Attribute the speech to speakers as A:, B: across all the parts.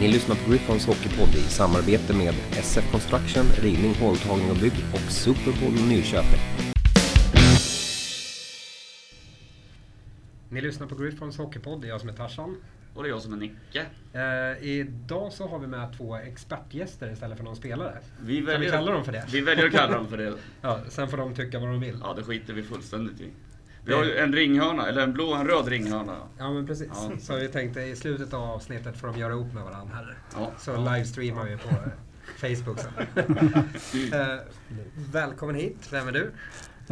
A: Ni lyssnar på Griffons Hockeypodd i samarbete med SF Construction, Rivning, Håltagning och Bygg och Superbowl Nyköping. Ni lyssnar på Griffons Hockeypodd, det är jag som är Tarzan.
B: Och det är jag som är Nicke.
A: Eh, idag så har vi med två expertgäster istället för någon spelare.
B: Vi
A: Kan vi kalla dem för det?
B: Vi väljer att kalla dem för det.
A: Ja, sen får de tycka vad de vill.
B: Ja, det skiter vi fullständigt i. Vi har ju en ringhörna, eller en blå och en röd ringhörna.
A: Ja men precis.
B: Ja.
A: Så vi tänkte i slutet av avsnittet får de göra ihop med varandra här.
B: Ja.
A: Så livestreamar vi på eh, Facebook sen. Eh, välkommen hit, vem är du?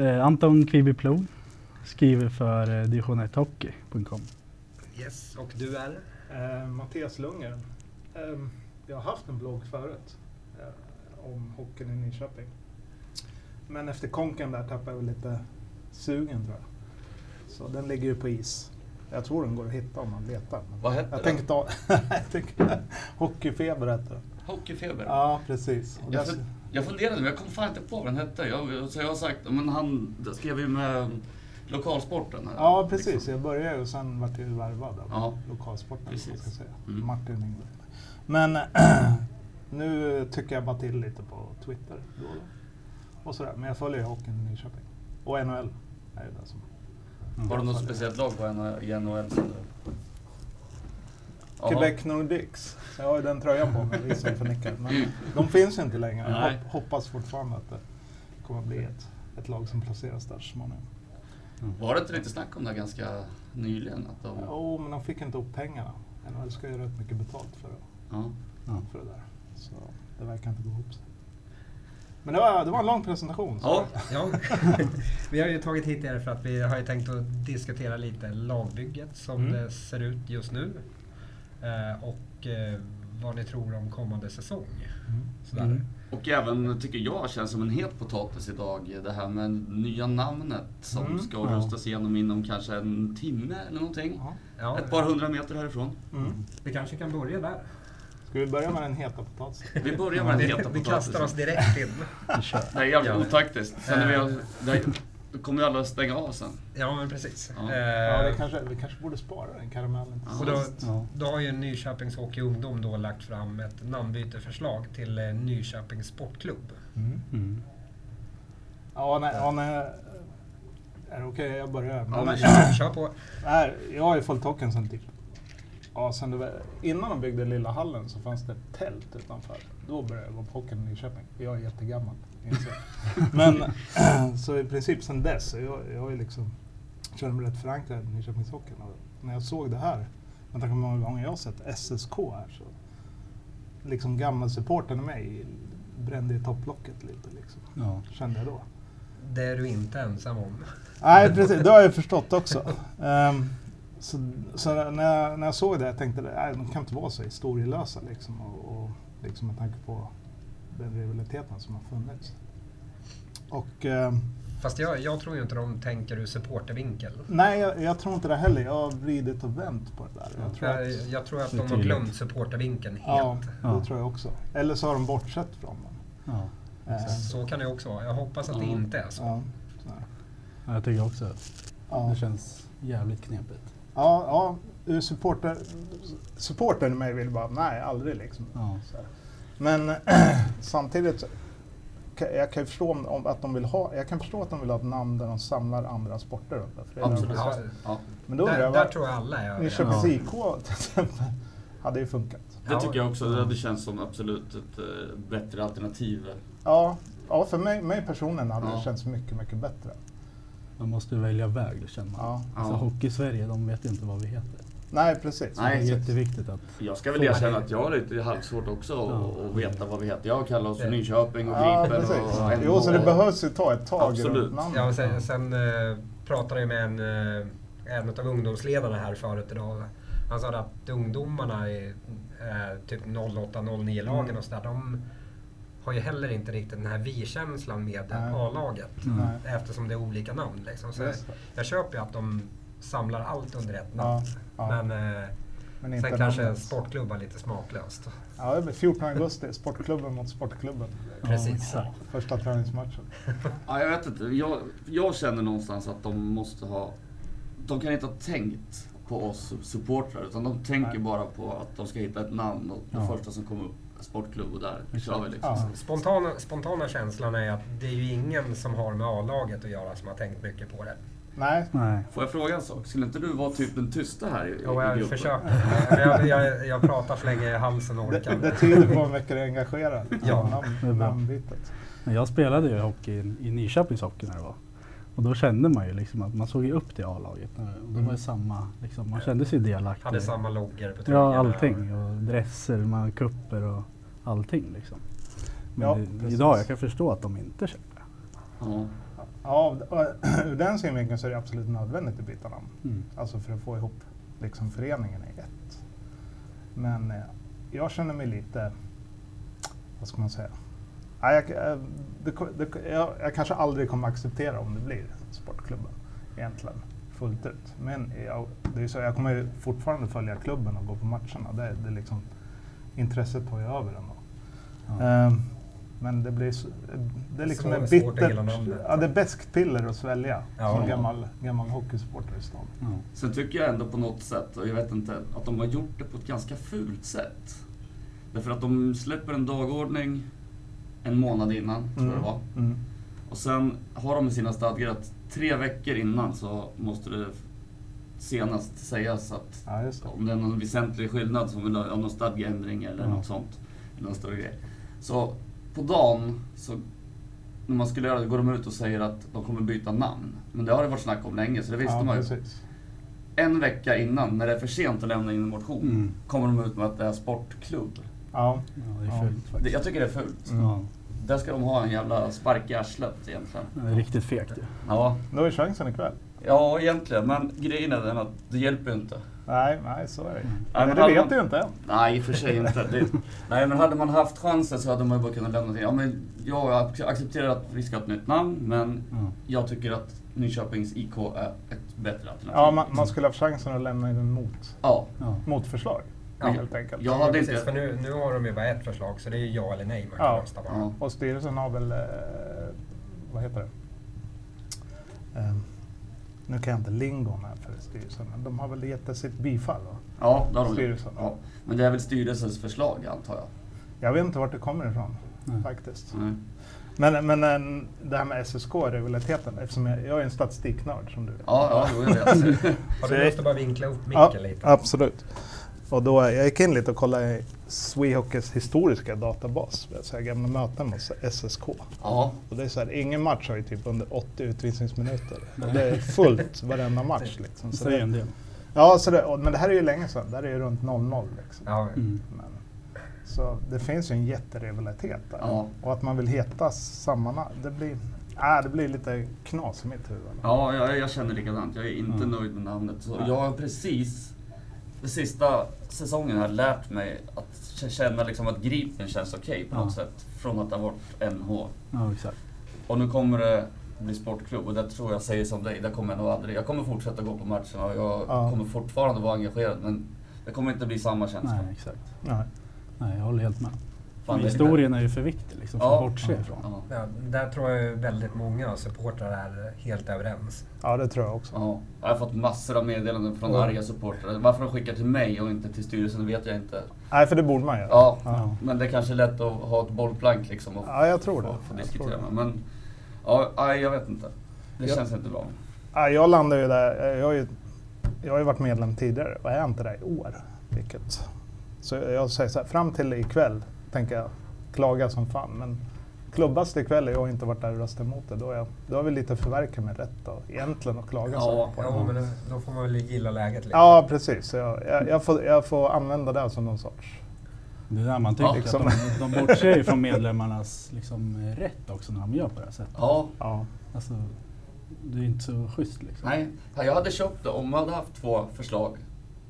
C: Eh, Anton Kvibi Plog skriver för eh, division 1 hockey.com.
A: Yes, och du är?
D: Eh, Mattias Lundgren. Eh, jag har haft en blogg förut eh, om hockeyn i Nyköping. Men efter konken där tappade jag väl lite sugen tror jag. Så den ligger ju på is. Jag tror den går att hitta om man letar. men
B: Vad heter
D: jag
B: den?
D: tänkte ta... jag tänker- Hockeyfeber heter den.
B: Hockeyfeber.
D: Ja, precis. Och
B: Jag,
D: dess-
B: fun- jag funderade, men jag kom fan inte på vad den hette. Jag, så jag har sagt, men han det skrev ju med um, lokalsporten. Här,
D: ja, precis.
B: liksom.
D: Jag började och sen vart jag ju värvad av
B: Ja.
D: lokalsporten. om man
B: Precis.
D: ska säga.
B: Mm.
D: Martin Engberg. Men nu tycker jag bara till lite på Twitter. Då och, då. och sådär. Men jag följer ju hockeyn i Nyköping. Och NHL är ju det som...
B: Mm. Har du något
D: Jag följer.
B: speciellt lag på N- i NHL? som du- Jaha.
D: Quebec Nordics. Så jag har ju den tröjan på mig, liksom för nickar. Men de finns ju inte längre. Jag
B: Nej.
D: hop- hoppas fortfarande att det kommer att bli ett, ett lag som placeras där så småningom.
B: Var det inte lite snack om det här ganska nyligen? Att de,
D: Jo, men de fick inte upp pengarna. NHL ska ju rätt mycket betalt för det.
B: ja.
D: för det där. Så det verkar inte gå ihop sig. Men det var, det var en lång presentation. så-
B: ja,
A: Ja. vi har ju tagit hit er för att vi har ju tänkt att diskutera lite lagbygget som
D: Mm.
A: det ser ut just nu. Eh, och eh, vad ni tror om kommande säsong.
D: Mm.
A: Sådär.
C: Mm.
B: Och även, tycker jag, känns som en het potatis idag. Det här med nya namnet som
D: Mm.
B: ska
C: Ja.
B: röstas igenom inom kanske en timme eller någonting.
D: Ja.
A: Ja,
B: Ett par hundra meter härifrån.
D: Mm.
A: Vi kanske kan börja där.
D: Ska vi börja med den heta potatisen?
B: Vi börjar med den
A: vi,
B: heta
A: vi
B: potatisen.
A: kastar oss direkt in.
C: Vi kör.
B: Det är jävligt
A: Ja.
B: otaktiskt. Sen när vi har, det här, då kommer ju alla stänga av sen.
A: Ja men precis.
B: Ja.
A: Eh,
D: Ja, det kanske, vi kanske borde spara den karamellen till
B: Ja.
A: Och
D: sist.
A: då,
C: Ja.
A: då har ju Nyköpings Hockey Ungdom då lagt fram ett namnbytesförslag till eh, Nyköpings Sportklubb.
D: Mm.
C: Mm.
D: Ja, nej, ja, nej. Är det okej? Jag börjar.
B: Ja,
D: Men-
B: men
A: Kör, kör på.
D: Nej, jag har ju följt hockeyn sen typ... Ja, sen det var, innan de byggde lilla hallen så fanns det ett tält utanför. Då började jag gå på hockeyn i Nyköping. Jag är jättegammal, inser jag. Men så i princip sen dess, så jag, jag har ju liksom... Känner mig rätt förankrad i Nyköpingshockeyn. Och När jag såg det här, med tanke på hur många gånger jag har sett SSK här så... Liksom gamla supporten i mig brände ju topplocket lite liksom,
C: Ja.
D: kände jag då.
A: Det är du inte ensam om.
D: Nej, precis. Det har jag förstått också. Ehm, så så när, jag, när jag såg det jag tänkte jag de kan inte vara så historielösa liksom, och, och, liksom med tanke på den rivaliteten som har funnits. Och ehm,
A: Fast jag, jag tror ju inte de tänker ur supportervinkel.
D: nej, jag, jag tror inte det heller. Jag har vridit och vänt på det där. Jag tror
A: Jag,
D: att,
A: jag tror att
C: Det är
A: de har
C: tydligt.
A: glömt supportervinkeln
D: ja,
A: helt.
C: Ja.
D: det tror jag också. Eller så har de bortsett från den.
C: Ja.
D: Ehm,
A: Så kan det också vara. Jag hoppas att det
B: Ja.
A: inte är så.
D: ja, sådär.
C: Ja, Jag tycker också att
D: Ja.
C: det känns jävligt knepigt.
D: Ja, ja ur supporter, supportern i mig vill bara, nej aldrig liksom.
C: Ja.
D: Så här. Men samtidigt, så kan- jag kan ju förstå om, om att de vill ha, jag kan förstå att de vill ha ett namn där de samlar andra sporter under. för det är där de
B: Absolut.
D: får-
A: Ja,
B: Ja.
D: Men då undrar
A: där,
D: jag,
A: där
D: vad-
A: tror jag alla är överens.
D: Nyköpings
C: Ja.
D: IK till exempel, hade ju funkat.
B: Det
A: Ja.
B: tycker jag också. Det känns som absolut ett eh, bättre alternativ.
D: Ja, ja för mig, mig personligen hade
B: Ja.
D: det känts mycket, mycket bättre.
C: Man måste ju välja väg, känner man.
D: Ja.
C: Alltså,
B: Ja.
C: Hockey-Sverige, de vet ju inte vad vi heter.
D: Nej, precis.
C: Det är
B: Nej,
D: precis.
C: jätteviktigt att...
B: Jag ska väl erkänna att jag har lite halvsvårt också att
C: Ja.
B: att veta vad vi heter. Jag kallar oss för
A: Det-
B: Nyköping och
D: Ja,
B: Gripen
D: precis.
B: och...
D: Jo, så det
B: och-
D: behövs ju ta ett tag
B: Absolut.
D: runt namnet.
A: Ja, och sen, sen eh, pratade jag med en, eh, en av ungdomsledarna här förut idag. Han sa att ungdomarna i eh, typ
D: Mm.
A: 08-09-lagen och sådär, de har ju heller inte riktigt den här vi-känslan med
D: Nej.
A: A-laget.
D: Nej.
A: Eftersom det är olika namn. Liksom. Så jag,
D: Just det.
A: jag köper ju att de samlar allt under ett namn.
D: ja.
A: Men, eh,
D: Men
A: sen
D: inte
A: kanske
D: namnet.
A: sportklubbar lite smaklöst.
D: Ja, det blir 14 augusti. Sportklubben mot Sportklubben.
A: Precis.
C: exakt.
D: Första träningsmatchen.
B: Ja, jag vet inte. Jag, jag känner någonstans att de måste ha... De kan inte ha tänkt på oss supportrar. Utan de tänker
D: Nej.
B: bara på att de ska hitta ett namn och det
C: Ja.
B: första som kommer upp är sportklubb och där kör
C: Exakt.
B: vi liksom.
D: Ja.
A: Spontana, spontana känslan är att det är ju ingen som har med A-laget att göra som har tänkt mycket på det.
D: Nej,
C: Nej.
B: Får jag fråga en sak? Skulle inte du vara typ den tysta här i, i,
A: Jo,
B: i
A: jag
B: gruppen?
A: försöker. Men Jag, jag, jag pratar så länge halsen
D: det,
A: orkar.
D: det tyder på en mycket engagerad.
A: Ja,
C: det är
D: namn,
C: bra.
D: namnbytet.
C: Men jag spelade ju hockey i, i Nyköpings hockey när det var. Och då kände man ju liksom att man såg ju upp till A-laget. när det- Och det var ju samma, liksom, man kände sig delaktig.
A: Hade samma loggor på tröjan.
C: Ja, allting. Och dresser, man, kupper och allting liksom. Men
D: Ja,
C: det,
D: precis.
C: idag, jag kan förstå att de inte känner det.
B: Ja.
D: Ja, av- och ur den synvinkeln så är det absolut nödvändigt att byta namn.
C: Mm.
D: Alltså för att få ihop liksom föreningen i ett. Men eh, jag känner mig lite, vad ska man säga? Nej, jag, eh, det, ko- det, ko- jag, jag kanske aldrig kommer acceptera om det blir sportklubben egentligen fullt ut. Men jag, det är så, jag kommer ju fortfarande följa klubben och gå på matcherna. Det, det är liksom, intresset tar ju över ändå.
C: Ja.
D: Ehm, men det blir så, det är liksom
A: Svår-
D: en
A: svårt att
D: bittert,
A: gilla namnet.
D: ja, det är beskt piller att svälja
A: Ja.
D: som gammal, gammal hockeysupporter i stan.
C: Ja.
B: Sen tycker jag ändå på något sätt, och jag vet inte, att de har gjort det på ett ganska fult sätt. Därför att de släpper en dagordning en månad innan, tror jag det var.
D: Mm.
B: Och sen har de i sina stadgar att tre veckor innan så måste det senast sägas att
D: Ja, just det.
B: om det är någon väsentlig skillnad, som vill ha om någon stadgeändring eller
D: Ja.
B: något sånt, eller någon större grej. Så på dagen, så, när man skulle göra det, går de ut och säger att de kommer byta namn. Men det har det varit snack om länge, så det visste
D: ja,
B: man ju
D: precis.
B: en vecka innan, när det är för sent att lämna in en motion,
C: Mm.
B: kommer de ut med att det är sportklubb.
D: Ja.
C: ja, det
D: Ja.
C: är fult
B: Det,
C: faktiskt.
B: jag tycker det är fult.
C: Ja,
B: Där ska de ha en jävla spark i arslet egentligen.
C: det är riktigt fegt ju.
B: Ja.
D: Då är chansen ikväll.
B: ja, egentligen. Men grejen är den att det hjälper ju inte.
D: Nej, nej, så är det.
B: Nej,
D: Nej,
B: men Mm.
D: det
B: hade
D: vet
B: man-
D: du ju inte än.
B: Nej, i och för sig inte. Det, nej, men hade man haft chansen så hade man ju bara kunnat lämna det. Ja, men jag ac- accepterar att vi ska ha ett nytt namn, men
C: Ja.
B: jag tycker att Nyköpings IK är ett bättre alternativ.
D: Ja, man, man skulle ha haft chansen att lämna in en mot,
B: ja.
C: Ja.
D: motförslag.
A: Ja.
D: Helt enkelt.
B: Jag
A: Ja,
B: hade
A: precis. För
B: inte...
A: nu, nu har de ju bara ett förslag så det är ju ja eller nej man kan
D: Ja.
A: rösta på.
B: Ja.
D: Och styrelsen har väl, eh, vad heter det? Ehm, nu kan jag inte lingon här för styrelsen, men de har väl gett det sitt bifall? Va?
B: Ja, det har de gjort.
D: Styrelsen.
B: Ja. Men det är väl styrelsens förslag, antar jag.
D: Jag vet inte vart det kommer ifrån
C: Nej.
D: faktiskt.
B: Nej.
D: Men, men en- det här med SSK-rivaliteten, eftersom jag, jag är en statistiknörd som du vet.
B: Ja, ja, jo, jag vet.
A: Har
D: Så
A: du
D: jag-
A: lust att bara vinkla upp micken
D: Ja,
A: lite?
D: absolut. Och då, jag gick in lite och kollade i Swehockeys historiska databas, så här gamla möten mot SSK.
B: Ja,
D: Och det är så här, ingen match har ju typ under 80 utvisningsminuter. Och det är fullt varenda match. Liksom. Så
C: Så det är en
D: det,
C: del.
D: ja, så det, och, men det här är ju länge sedan, det här är ju runt 00. Liksom.
A: Ja,
C: Mm.
D: Men, så det finns ju en jätterivalitet där.
B: Ja.
D: Och att man vill heta samma namn, det blir, äh, det blir lite knas i mitt huvud.
B: ja jag, jag känner likadant. Jag är inte
C: Mm.
B: nöjd med namnet. Så jag har precis, den sista säsongen har lärt mig att k- känna liksom att Gripen känns okej på något
C: Ja.
B: sätt. Från att ha varit NH.
C: Ja, exakt.
B: Och nu kommer det bli sportklubb och det tror jag säger som dig, det kommer jag nog aldrig. Jag kommer fortsätta gå på matcherna och jag
D: Ja.
B: kommer fortfarande vara engagerad men det kommer inte bli samma känsla.
C: Nej, exakt.
D: Nej.
C: Nej, jag håller helt med.
B: Fan,
C: Men
B: det är-
C: historien är ju för viktig liksom, för
B: Ja.
C: att bortse ifrån.
B: Ja,
A: Ja, där tror jag ju väldigt många supportrar är helt överens.
D: Ja, det tror jag också.
B: ja. Jag har fått massor av meddelanden från
D: Ja.
B: arga supportrar. Varför de skickar till mig och inte till styrelsen vet jag inte.
D: Nej, för det borde man göra.
B: Ja,
C: Ja.
B: men det är kanske är lätt att ha ett bollplank liksom och
D: Ja, jag tror det.
B: få- få
D: Jag
B: diskutera
D: tror
B: med.
D: det.
B: Men ja, nej, jag vet inte. Det
D: Ja.
B: känns inte bra.
D: Ja, jag landar ju där. Eh, Jag har ju, jag har ju varit medlem tidigare och är inte det i år. Vilket, så jag säger så här, fram till ikväll tänker jag klaga som fan. Men klubbas det ikväll och jag har inte varit där och röstat emot det, då, är jag, då har vi lite förverkat min rätt då, egentligen att klaga. så
B: Ja,
D: här på det.
A: Ja, men då- då får man väl gilla läget lite.
D: ja precis. Så jag, jag, jag, får, jag får använda det som någon sorts...
C: Det är där man
B: Ja,
C: tycker
D: liksom.
C: att de, de bortser ju från medlemmarnas liksom, eh, rätt också när de gör på det här sättet.
B: Ja,
D: Ja,
C: Alltså, det är inte så schysst liksom.
B: nej. Jag hade köpt det om man hade haft två förslag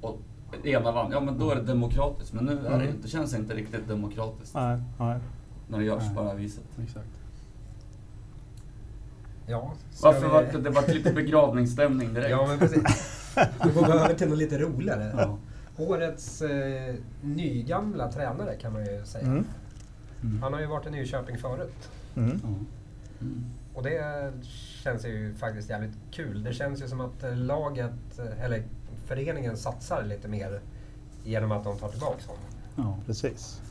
B: och ena vann. Ja, men då är det demokratiskt. Men nu är det
D: Mm.
B: inte, känns det inte riktigt demokratiskt
D: nej, nej.
B: när det görs
C: Nej.
B: på det här viset.
C: Exakt.
A: Ja, ska
B: Varför
A: vi-
B: var det, det var lite begravningsstämning direkt?
A: Ja, men precis. Vi får gå över till något lite roligare.
C: Ja.
A: Årets eh, nygamla tränare kan man ju säga.
D: Mm.
C: Mm.
A: Han har ju varit i Nyköping förut.
D: Mm.
C: Ja.
A: Och det känns ju faktiskt jävligt kul. Det känns ju som att eh, laget, eh, eller föreningen satsar lite mer genom att de tar tillbaka honom.
C: Ja,
D: Precis.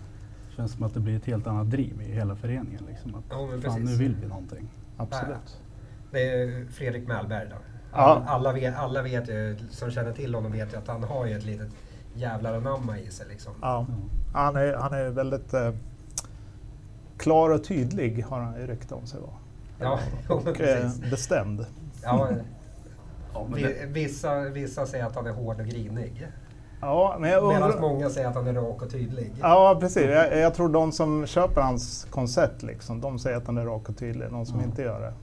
C: känns som att det blir ett helt annat driv i hela föreningen. Liksom. Att,
A: Ja, men
C: fan, nu
A: precis.
C: vill vi någonting.
D: Absolut.
A: Det är Fredrik Mellberg då.
D: Ja.
A: Alla, vet, alla vet ju, som känner till honom vet ju att han har ju ett litet jävlar anamma i sig liksom.
D: Mm. Ja.
C: Ja.
D: Han är, han är väldigt eh, klar och tydlig har han ju rykte om sig vara.
A: Ja, jo, men
D: Och eh,
A: precis.
D: bestämd.
A: Ja,
C: Mm.
B: Ja, men
A: vi-
B: det,
A: vissa, vissa säger att han är hård och grinig.
D: Ja, men jag
A: Medan
D: undrar...
A: många säger att han är rak och tydlig.
D: Ja, precis. Jag, jag tror de som köper hans koncept, liksom, de säger att han är rak och tydlig. De som
A: Mm.
C: Ja.
D: inte gör det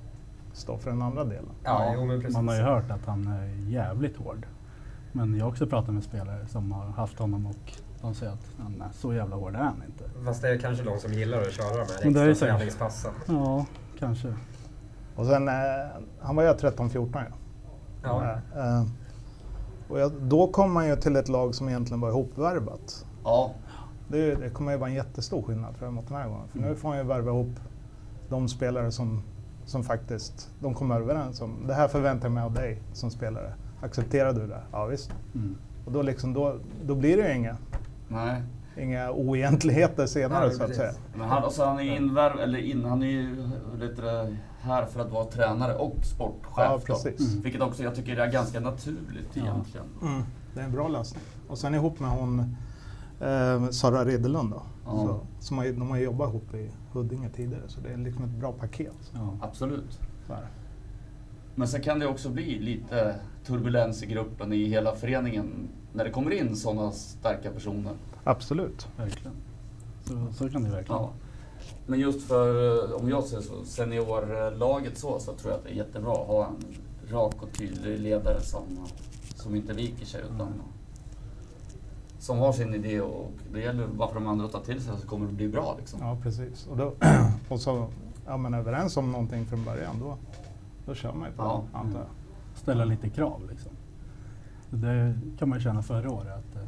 D: står för den andra delen.
A: ja jo, men precis.
C: Man har ju hört att han är jävligt hård. Men jag har också pratat med spelare som har haft honom och de säger att han är så jävla hård är han inte.
A: Fast det är kanske de som gillar att köra de här
C: Men det
A: extra
C: är ju säkert.
A: träningspassen.
C: Ja, kanske.
D: Och sen, eh, han var ju 13-14 ja.
A: Ja.
D: Eh, och jag, då kom man ju till ett lag som egentligen var ihopvärvat.
B: ja,
D: Det, det kommer ju vara en jättestor skillnad tror jag mot den här gången. För nu får man ju värva ihop de spelare som, som faktiskt de kommer överens om. Det här förväntar jag mig av dig som spelare. Accepterar du det? Ja visst.
C: Mm.
D: Och då, liksom, då, då blir det ju inga,
B: nej.
D: inga oegentligheter senare
A: Nej,
D: så att
A: precis.
D: säga.
B: Men han, alltså han är ju invärv, eller in, han är ju lite där här för att vara tränare och sportchef.
D: Ja,
B: då. Mm.
D: precis.
B: Vilket också jag tycker är ganska naturligt
C: Ja.
B: egentligen.
D: Mm. Det är en bra lösning. Och sen ihop med hon eh, Sara Ridderlund då.
B: Ja.
D: Så, som har, ju- de har ju jobbat ihop i Huddinge tidigare så det är liksom ett bra paket.
C: Ja.
B: Absolut.
D: Så här.
B: Men sen kan det också bli lite turbulens i gruppen, i hela föreningen, när det kommer in sådana starka personer.
D: Absolut.
C: Verkligen. Så, så kan det verkligen
B: Ja.
C: vara.
B: Men just för, eh, om jag ser så, seniorlaget så, så tror jag att det är jättebra att ha en rak och tydlig ledare som, som inte viker sig utan
C: Mm.
B: som har sin idé och det gäller bara för de andra att ta till sig så kommer det bli bra liksom.
D: Ja, precis. Och, då, och så är man överens om någonting från början, då, då kör man ju på
B: Ja.
D: det, antar jag.
C: Ställa lite krav liksom. Det kan man ju känna förra året att det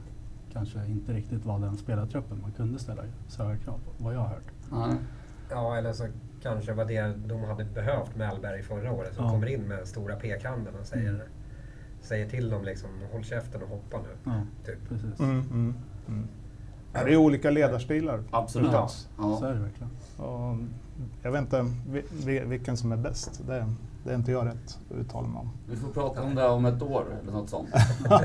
C: kanske inte riktigt var den spelartruppen man kunde ställa så höga krav på, vad jag har hört.
B: Nej.
A: ja, eller så kanske var det de hade behövt med Mellberg förra året som
C: Ja.
A: kommer in med stora pekhanden och säger,
C: Mm.
A: säger till dem liksom håll käften och hoppa nu.
C: Ja,
A: Typ.
C: precis.
D: Mm, mm, mm. Ja, det är olika ledarstilar.
B: Absolut.
D: Ja.
C: Så
B: Ja.
C: är det verkligen.
D: Och jag vet inte vi- vi- vilken som är bäst. Det, det är inte jag rätt att uttala mig om.
B: Vi får prata om det om ett år eller något sånt.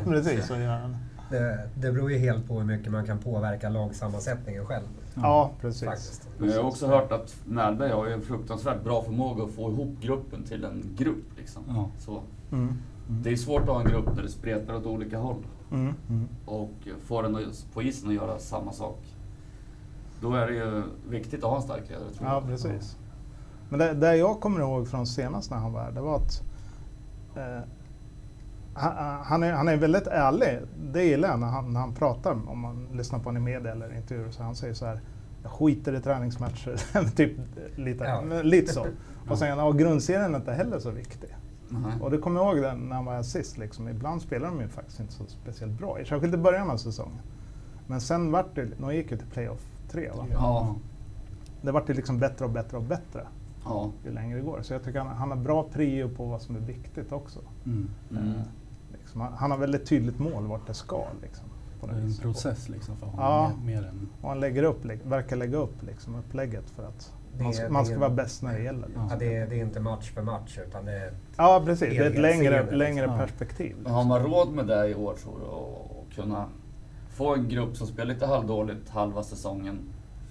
D: precis. Så gör jag det.
A: Det, det beror ju helt på hur mycket man kan påverka lagsammansättningen själv.
D: Ja, precis.
A: Faktiskt.
B: Men jag har också hört att Mellberg har ju en fruktansvärt bra förmåga att få ihop gruppen till en grupp liksom.
C: Ja.
B: Så.
D: Mm,
B: Det är svårt att ha en grupp där det spretar åt olika håll.
D: mm, mm.
B: och får den att- på isen att göra samma sak. Då är det ju viktigt att ha en stark ledare tror
D: Ja,
B: jag.
D: precis. Men det, det jag kommer ihåg från senast när han var här, det var att eh, han, han, är, han är väldigt ärlig. Det gillar jag när han, när han pratar, om man lyssnar på honom i media eller intervjuer. Så han säger så här, jag skiter i träningsmatcher. typ lite,
A: Ja.
D: men lite så. Och sen, och grundserien är inte heller så viktig.
B: Nej.
D: Och det kommer jag ihåg den när han var här sist, liksom. ibland spelar de ju faktiskt inte så speciellt bra. Särskilt i början av säsongen. Men sen vart det, de gick ju till playoff tre va?
B: Ja,
D: Det vart ju liksom bättre och bättre och bättre
B: ja.
D: ju längre det går. Så jag tycker han, han har bra prio på vad som är viktigt också.
C: Mm.
B: Mm.
D: Eh, liksom, han, han har väldigt tydligt mål vart det ska. Liksom, på
C: Det
D: något
C: är en
D: vis.
C: process liksom för honom.
D: Ja.
C: Mer, mer än,
D: Och han lägger upp, lä- verkar lägga upp liksom, upplägget för att
A: Det
D: man, ska-
A: är-
D: man
A: det
D: ska
A: är-
D: vara bäst när det gäller. liksom.
C: Ja.
A: Ja, det, är- det är inte match för match utan det är
D: Ja precis, det är ett
A: Helhetsseende,
D: längre,
A: liksom.
D: längre
C: Ja.
D: perspektiv.
B: Men har man råd med det i år tror jag och kunna få en grupp som spelar lite halvdåligt halva säsongen.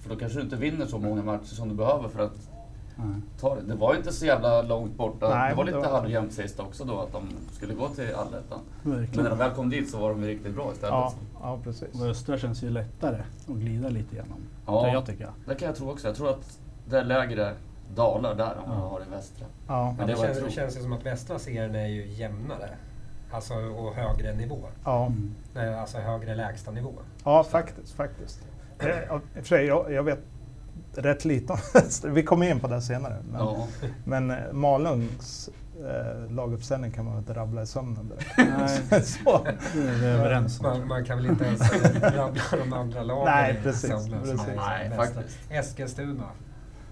B: För då kanske du inte vinner så många matcher som du behöver för att
C: nej.
B: ta det. Det var ju inte så jävla långt borta.
D: Nej,
B: det var
D: men
B: lite
D: det var-
B: halvjämnt sist också då att de skulle gå till allettan. Men när
C: Verkligen.
B: de väl kom dit så var de ju riktigt bra istället.
D: liksom. Ja, ja precis.
C: Och östra känns ju lättare att glida lite igenom.
B: Ja.
C: Det jag tycker jag.
B: Det kan jag tro också. Jag tror att det är lägre dalar där än vad
C: Ja.
B: jag har i västra.
D: Ja,
B: Men det
A: det
B: var jag
A: känns,
B: tror.
A: det känns ju som att västra serien är ju jämnare. Alltså och högre nivå.
D: ja.
C: Mm.
A: Eh, Alltså högre lägsta nivå.
D: ja faktiskt. faktiskt. Det- ja, I och för sig, jag, jag vet rätt lite om det. Vi kommer in på det senare. Men,
B: Ja.
D: men eh, Malungs eh, laguppställning kan man väl inte rabbla i sömnen direkt.
C: Nej,
D: Så.
C: det är vi överens om.
A: Man, man kan väl inte ens eh, rabbla de andra lagen
D: Nej,
A: i
D: precis,
A: Sörmland som
D: precis.
A: är
B: Nej,
A: bästa.
B: faktiskt.
A: Eskilstuna.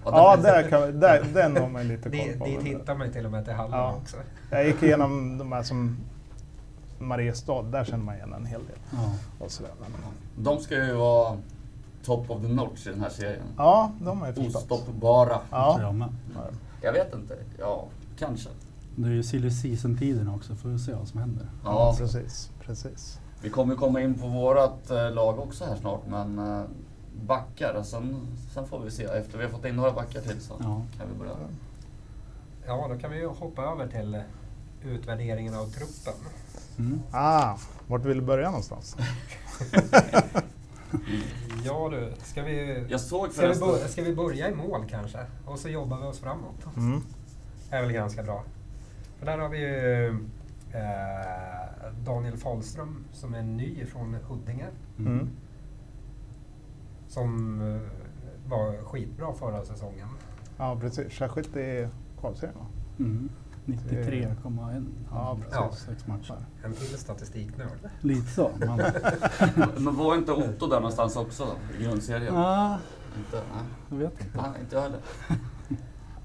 D: Ja,
B: finns-
D: där kan, vi- där, den har man lite
A: Di-
D: koll på.
A: Dit hittar man ju till och med till Halland
D: Ja.
A: också.
D: Jag gick igenom de här som Mariestad, där känner man igen en hel del.
C: Ja.
D: Och sådär. Men,
B: De ska ju vara top of the notch i den här serien.
D: ja, de har jag förstått.
B: Ostoppbara.
C: Tror
D: Ja.
C: jag med.
B: Jag vet inte. Ja, kanske.
C: Det är ju silly season-tiden också, får vi se vad som händer.
D: Ja,
B: Ja,
D: precis. precis.
B: vi kommer ju komma in på vårat eh, lag också här snart, men eh, backar. och Sen, sen får vi se. Efter vi har fått in några backar till så
C: Ja.
B: kan vi börja.
A: Ja, då kan vi ju hoppa över till eh, utvärderingen av truppen.
C: Mm.
D: Ah, vart vill du börja någonstans?
A: Ja du, ska vi,
B: Jag såg
A: ska vi,
B: förresten...
A: bo- ska vi börja i mål kanske? Och så jobbar vi oss framåt.
D: Mm.
A: Det är väl ganska bra. För där har vi ju eh, Daniel Falström som är ny från Huddinge.
D: Mm.
A: Som eh, var skitbra förra säsongen.
D: Ja, precis. Särskilt i kvalserien va?
C: Mm. 93,1
D: Ja,
A: Ja.
D: precis.
C: sex matcher.
A: En till statistiknörd.
C: Lite så. Man,
B: Men var inte Otto där någonstans också i grundserien?
C: ah,
B: Inte, nej.
C: jag vet inte.
B: nej, inte jag heller.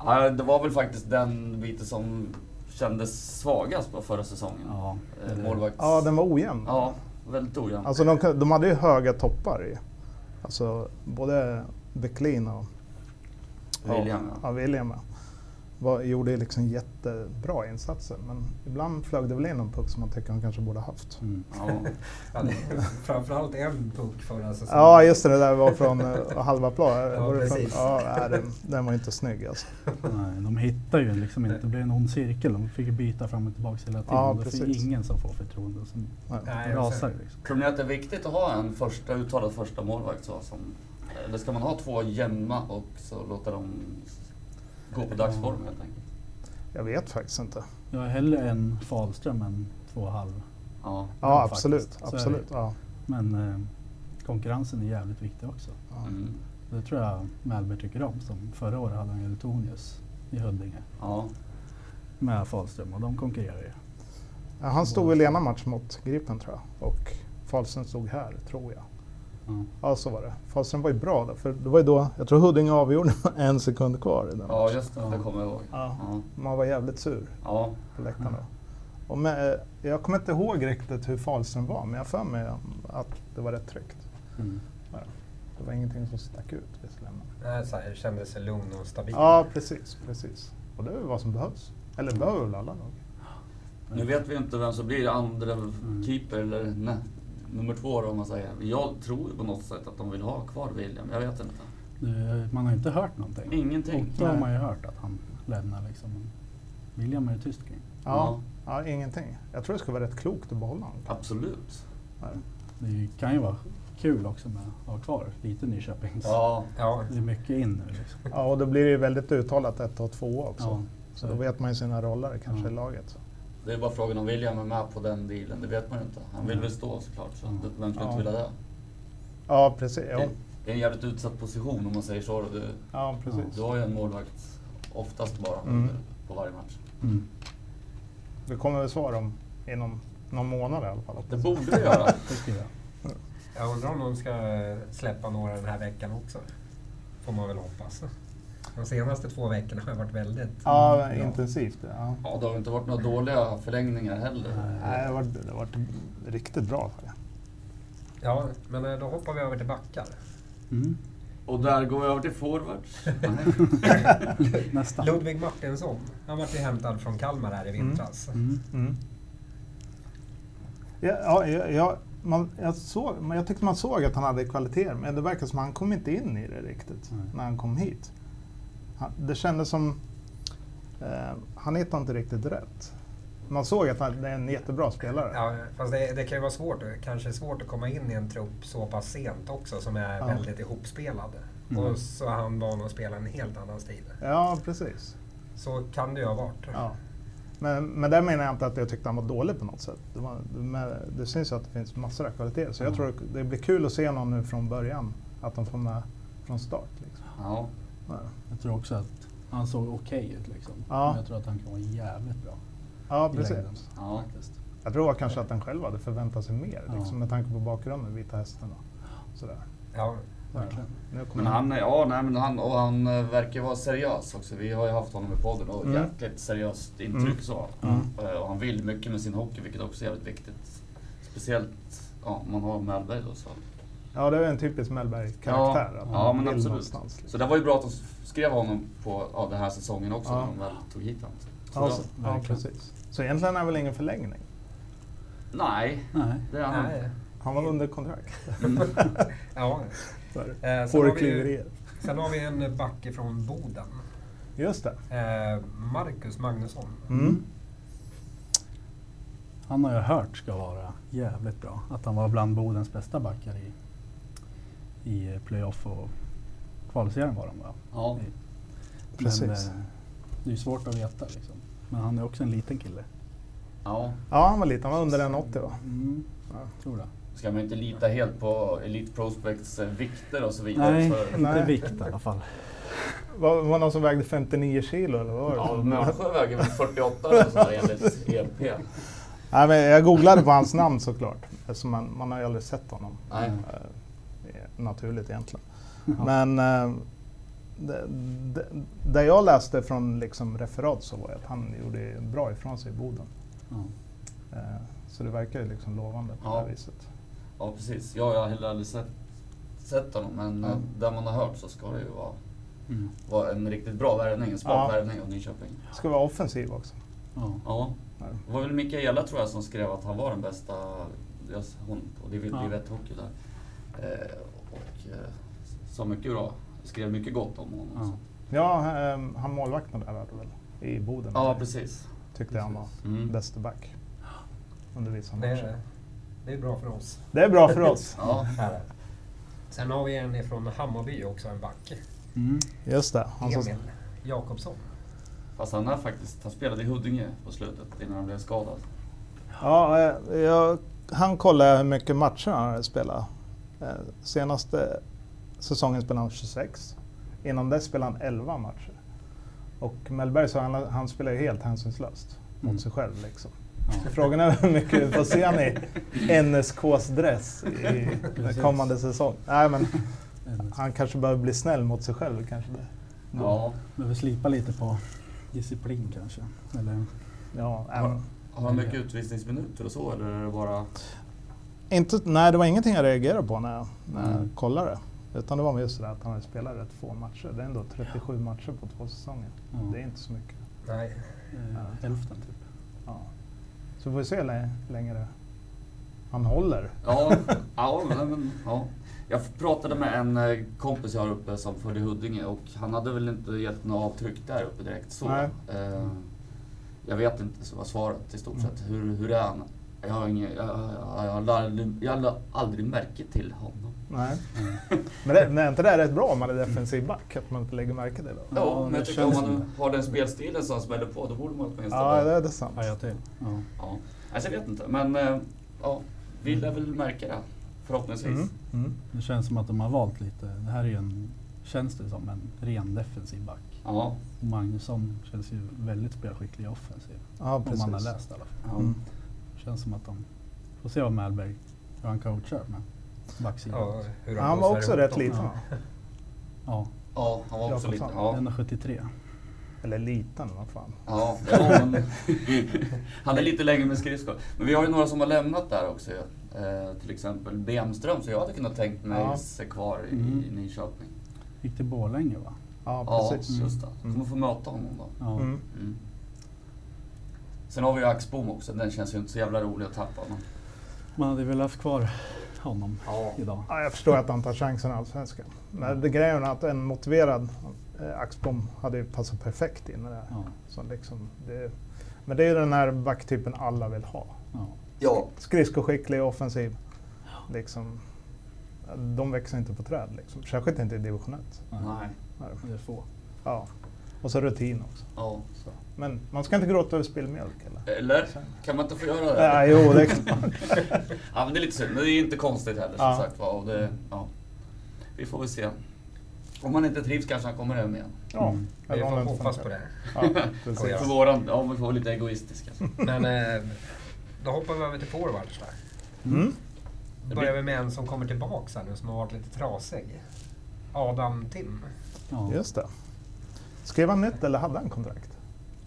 B: Ja, det var väl faktiskt den biten som kändes svagast på förra säsongen.
C: Ja,
B: Eh,
C: det-
B: Målvakts...
D: Ja, den var ojämn.
B: Ja, väldigt ojämn.
D: Alltså de, kun- de hade ju höga toppar i. Alltså både Becklin och
B: William,
D: ja.
B: ja.
D: Ja, William ja. var, gjorde ju liksom jättebra insatser. Men ibland flög det väl in någon puck som man tycker han kanske borde haft.
C: Mm.
B: Ja.
A: Ja, det- framförallt en puck förra säsongen.
D: Ja, just det. Det där var från eh, halva plan.
A: Ja,
D: Var det från-
A: precis.
D: Ja, nej, den, den var inte snygg alltså.
C: Nej, de hittar ju liksom inte, det blir en ond cirkel. De fick ju byta fram och tillbaka hela tiden.
D: Ja,
C: och det
D: precis.
C: är ingen som får förtroende och sen
D: Nej.
A: Nej, och
C: rasar
A: sen-
C: det liksom.
B: Tror ni att det är viktigt att ha en första, uttalad första målvakt? Så, som, eller ska man ha två jämna och så låta dem gå på dagsform helt enkelt?
D: Jag vet faktiskt inte.
C: Jag är hellre en Falström än två och halv.
B: Ja.
D: Ja,
C: faktiskt.
D: absolut.
C: Så är det.
D: absolut. Ja.
C: Men eh, konkurrensen är jävligt viktig också.
B: Mm.
C: Det tror jag Mellberg tycker om. Som förra året hade han ju Eltonius i Huddinge
B: ja.
C: med Falström och de konkurrerar ju.
D: Ja, Han stod väl i ena match mot Gripen tror jag. Och Falsen stod här, tror jag.
C: Ja.
D: Ja, så var det. Falsen var ju bra då, för det var ju då, jag tror Huddinge avgjorde med en sekund kvar i den
B: ja,
D: matchen.
B: just det. Det kommer jag ihåg.
D: Ja.
B: Ja.
D: Man var jävligt sur
B: ja.
D: på läktaren då. Och med, eh, jag kommer inte ihåg riktigt hur Falsen var, men jag har för mig att det var rätt tryggt.
C: Mm.
D: Det var ingenting som stack ut visserligen.
A: Nej, Eh, så här, kände sig lugn och stabil.
D: Ja, precis, precis. Och det är väl vad som behövs. Eller behöver väl alla lag.
B: Nu vet vi inte vem som blir andra keeper eller nej, nummer två då, om man säger. Jag tror ju på något sätt att de vill ha kvar William. Jag vet inte.
C: Det- Man har ju inte hört någonting.
B: Ingenting.
C: Otto har man ju hört att han lämnar liksom. Men William är ju tyst kring.
D: Ja, ja ingenting. Jag tror det skulle vara rätt klokt att behålla honom.
B: Absolut.
C: Det kan ju vara kul också med att ha kvar lite Nyköpings.
B: Ja.
A: Ja,
C: Det är mycket in nu liksom.
D: Ja, och då blir det ju väldigt uttalat ett och två också.
C: Ja,
D: Så då vet man ju sina roller kanske i laget.
B: Det är bara frågan om William är med på den dealen. Det vet man ju inte. Han vill väl stå såklart. Så att vem skulle
D: Ja.
B: inte vilja det?
D: Ja, precis. Jo.
B: Det är en jävligt utsatt position om man säger så. Du,
D: Ja, precis.
B: du har ju en målvakt oftast bara
D: Mm.
B: på varje match.
C: Mm.
D: Det kommer väl svar om inom någon månad i alla fall.
B: Det borde vi göra.
C: Tycker jag.
A: jag undrar om de ska eh, släppa några den här veckan också. Får man väl hoppas. De senaste två veckorna har varit väldigt...
D: Ja,
A: Ja.
D: intensivt. Ja.
B: Ja, det har inte varit några dåliga förlängningar heller.
D: Nej, det har varit, det har varit riktigt bra. tycker jag.
A: Ja, men eh, då hoppar vi över till backar.
C: Mm.
B: Och där går vi över till forwards.
C: Nästa.
A: Ludvig Martinsson, han vart ju hämtad från Kalmar här i vintras.
C: Mm.
D: Ja, ja, ja, ja, man, jag, såg, men jag tyckte man såg att han hade kvaliteter, men det verkar som att han kom inte in i det riktigt
C: Nej.
D: när han kom hit. Han, det kändes som... Eh, han hittade inte riktigt rätt. Man såg att han det är en jättebra spelare.
A: Ja, fast det, det kan ju vara svårt, kanske svårt att komma in i en trupp så pass sent också som är
D: Ja.
A: väldigt ihopspelad.
C: Mm.
A: Och så är han van att spela en helt annan stil.
D: Ja, precis.
A: Så kan det ju ha varit.
D: Ja. Men, men där menar jag inte att jag tyckte han var dålig på något sätt. Det, var, men det syns att det finns massor av kvaliteter. Så jag
C: Ja.
D: tror det blir kul att se någon nu från början. Att de får med från start. Liksom.
B: Ja.
D: Ja.
C: Jag tror också att han såg okej ut liksom.
D: Ja.
C: Men jag tror att han kan vara jävligt bra.
D: Ja,
C: i
D: precis.
C: längden,
B: Ja.
C: faktiskt.
D: Jag tror kanske att han själv hade förväntat sig mer.
C: Ja.
D: Liksom, med tanke på bakgrunden, Vita Hästen och sådär.
A: Ja,
C: verkligen.
D: Nu kommer
B: Men han, är- ja, nej, men han, och han eh, verkar vara seriös också. Vi har ju haft honom i podden och
D: Mm.
B: jäkligt seriöst intryck
D: Mm.
B: så.
D: Mm.
B: Eh, Och han vill mycket med sin hockey, vilket också är jävligt viktigt. Speciellt ja, om man har Mellberg då. Så.
D: Ja, det är en typisk Mellberg-karaktär.
B: Ja,
D: att
B: ja,
D: man
B: men
D: vill
B: absolut.
D: någonstans, liksom.
B: så det var ju bra att de skrev honom på ja, den här säsongen också,
D: Ja.
B: när de väl tog hit honom. Så
D: Ja,
B: då-
D: så, ja,
C: Verkligen.
D: precis. Så egentligen är det väl ingen förlängning?
B: Nej,
C: Nej.
B: det är han
A: Nej.
D: Han var under kontrakt.
A: Ja.
D: Så är det.
A: Eh, sen, har vi, ju-
D: Fårkliverier.
A: sen har vi en back från Boden.
D: Just det.
A: Eh, Marcus Magnusson.
D: Mm.
C: Han har jag hört ska vara jävligt bra. Att han var bland Bodens bästa backar i, i playoff och kvalserien var de va?
B: Ja,
D: Precis.
C: Men, eh, det är ju svårt att veta liksom. Men han är också en liten kille.
B: ja.
D: Ja, han var liten. Han var under 1,80 va?
C: Mm.
D: Ja.
C: Tror det.
B: Ska man ju inte lita helt på Elite Prospects eh, vikter och så vidare.
C: Nej,
B: För,
D: Nej.
C: inte vikt i alla fall.
D: Var, var det någon som vägde 59 kilo eller vad var det?
B: ja, Mönsjö väger väl 48 eller så enligt E EP.
D: Nej, men jag googlade på hans namn såklart. Eftersom man, man har ju aldrig sett honom.
B: Nej.
D: Eh, naturligt egentligen.
C: Ja.
D: Men eh, det, det, det jag läste från liksom referat så var att han gjorde bra ifrån sig i Boden.
C: Ja.
D: Eh, så det verkar ju liksom lovande på
B: Ja.
D: det här viset.
B: Ja, precis. Ja, jag har heller aldrig sett, sett honom, men eh, där man har hört så ska det ju vara,
C: Mm.
B: vara en riktigt bra värvning, en smart
D: Ja.
B: värvning av Nyköping.
D: Ska vara offensiv också.
C: Ja.
B: Ja.
D: Ja.
B: Det var väl Mikaela tror jag som skrev att han var den bästa, deras- hon på Div-
C: Ja.
B: Div 1 Hockey där. Eh, och eh, sa mycket bra, skrev mycket gott om honom.
C: Ja.
B: Ja,
D: Ja, eh, han målvakten där hade väl i Boden. eh,
B: ja precis.
D: Tyckte jag han var
B: Mm.
D: bäste back. Under vissa
A: Det
D: matcher.
A: är, det är bra för oss.
D: Det är bra för oss.
B: Ja.
A: Här. Sen har vi en från Hammarby också, en back.
C: Mm.
D: Just det. Han som,
A: Emil Jakobsson.
B: Fast han har faktiskt, han spelade i Huddinge på slutet innan han blev skadad.
D: ja, eh, jag, han kollade hur mycket matcher han hade spelat. Eh, Senaste säsongen spelade han 26. Innan dess spelade han 11 matcher. Och Mellberg sa han, han spelar ju helt hänsynslöst mot
C: Mm.
D: sig själv. Liksom.
C: Ja.
D: Frågan är hur mycket vi får se han i NSKs dress i
C: Precis.
D: kommande säsong. Nej, men
C: Men
D: han kanske behöver bli snäll mot sig själv. Kanske det.
B: Ja.
C: Behöver slipa lite på disciplin kanske. Eller,
D: Ja, även.
B: Har han mycket utvisningsminuter och så eller är det bara...
D: Inte, nej, det var ingenting jag reagerade på när jag, när jag
C: Mm.
D: kollade. Utan det var just det där att han hade spelat rätt få matcher. Det är ändå 37 matcher på två säsonger.
C: ja.
D: Det är inte så mycket.
A: Nej.
C: Eh,
D: Ja. typ.
C: Hälften typ.
D: Ja. Så får vi se hur lä- länge det han håller.
B: Ja, ja, nej, men, ja. Jag pratade med en eh, kompis jag har uppe som födde i Huddinge och han hade väl inte gett några avtryck där uppe direkt. Så.
D: Nej.
B: Eh, jag vet inte så vad svaret i stort
D: Mm.
B: sett. Hur, hur är han? Jag har, ingen, jag, jag, jag, har aldrig, jag har aldrig märke till honom.
D: Nej.
C: Mm.
D: Men, det, men är inte det rätt bra om man är defensiv back? Att man inte lägger märke till det?
B: Ja,
C: Ja,
B: men
C: det
B: jag tycker om
C: känns
B: man har den spelstilen som han smäller på, då borde man åtminstone...
D: Ja, det är det sant.
C: Haja till. Ja.
B: Ja. Alltså, jag vet inte, men eh, ja, vi lär väl märka det förhoppningsvis.
D: Mm. Mm.
C: Det känns som att de har valt lite. Det här är ju en, känns det som, en ren defensiv back.
B: Ja,
C: Och Magnusson känns ju väldigt spelskicklig i offensiv.
D: Ja,
C: Om man har
D: precis.
C: läst i alla fall.
B: ja.
D: Mm.
C: Känns som att de får se vad Mellberg, hur han coachar med backsidan.
A: Ja,
C: Ja.
A: hur
D: Han var
A: bossar
D: också
A: ihop
D: rätt
A: dem.
D: liten.
C: Ja.
D: va?
B: ja han var också lite... Ja.
C: 1,73.
D: Eller liten, vad fan.
B: Ja, ja men, han är lite längre med skridskor. Men vi har ju några som har lämnat där också ju. eh, Till exempel Bemström, så jag hade kunnat tänkt mig
D: Ja.
B: se kvar i,
C: Mm.
B: i Nyköping.
C: Gick till Borlänge va?
D: Ja,
B: Ja,
D: precis.
B: just det.
D: Mm.
B: Kommer få möta honom då.
C: Ja.
D: Mm.
B: Mm. Sen har vi ju Axbom också, den känns ju inte så jävla rolig att tappa. Men,
C: Man hade väl haft kvar honom
B: ja.
C: idag.
D: Ja, jag förstår att han tar chansen i Allsvenskan. Men det grejen är att en motiverad eh, Axbom hade ju passat perfekt in i det här.
C: Ja.
D: Så liksom, det, men det är ju den här backtypen alla vill ha.
C: Ja.
B: ja,
D: Skridskoskicklig, offensiv. Liksom, de växer inte på träd, liksom. särskilt inte i division 1.
B: nej.
C: Det är få.
D: Ja. Och så rutin också.
B: Ja.
D: Så. Men man ska inte gråta över spillmjölk. Eller?
A: Eh,
B: Eller? Kan man inte få göra det?
D: Nej, jo, det är klart.
B: Ja, men det är lite synd, men det är inte konstigt heller som
D: Ja.
B: sagt var. Och det, ja. Vi får väl se. Om han inte trivs kanske han kommer hem igen.
D: Ja,
C: Mm.
A: Vi
D: eller om
A: får
D: den
A: hoppas
D: funkar.
A: på det.
D: Ja,
A: Får
D: precis. Mm.
A: jag.
B: För våran, ja, vi får vara lite egoistiska.
A: Men eh, då hoppar vi över till forwards där.
D: Mm.
A: börjar vi med en som kommer tillbaka här nu som har varit lite trasig. Adam Tim.
C: Ja.
D: Just det. Skrev han nytt eller hade han kontrakt?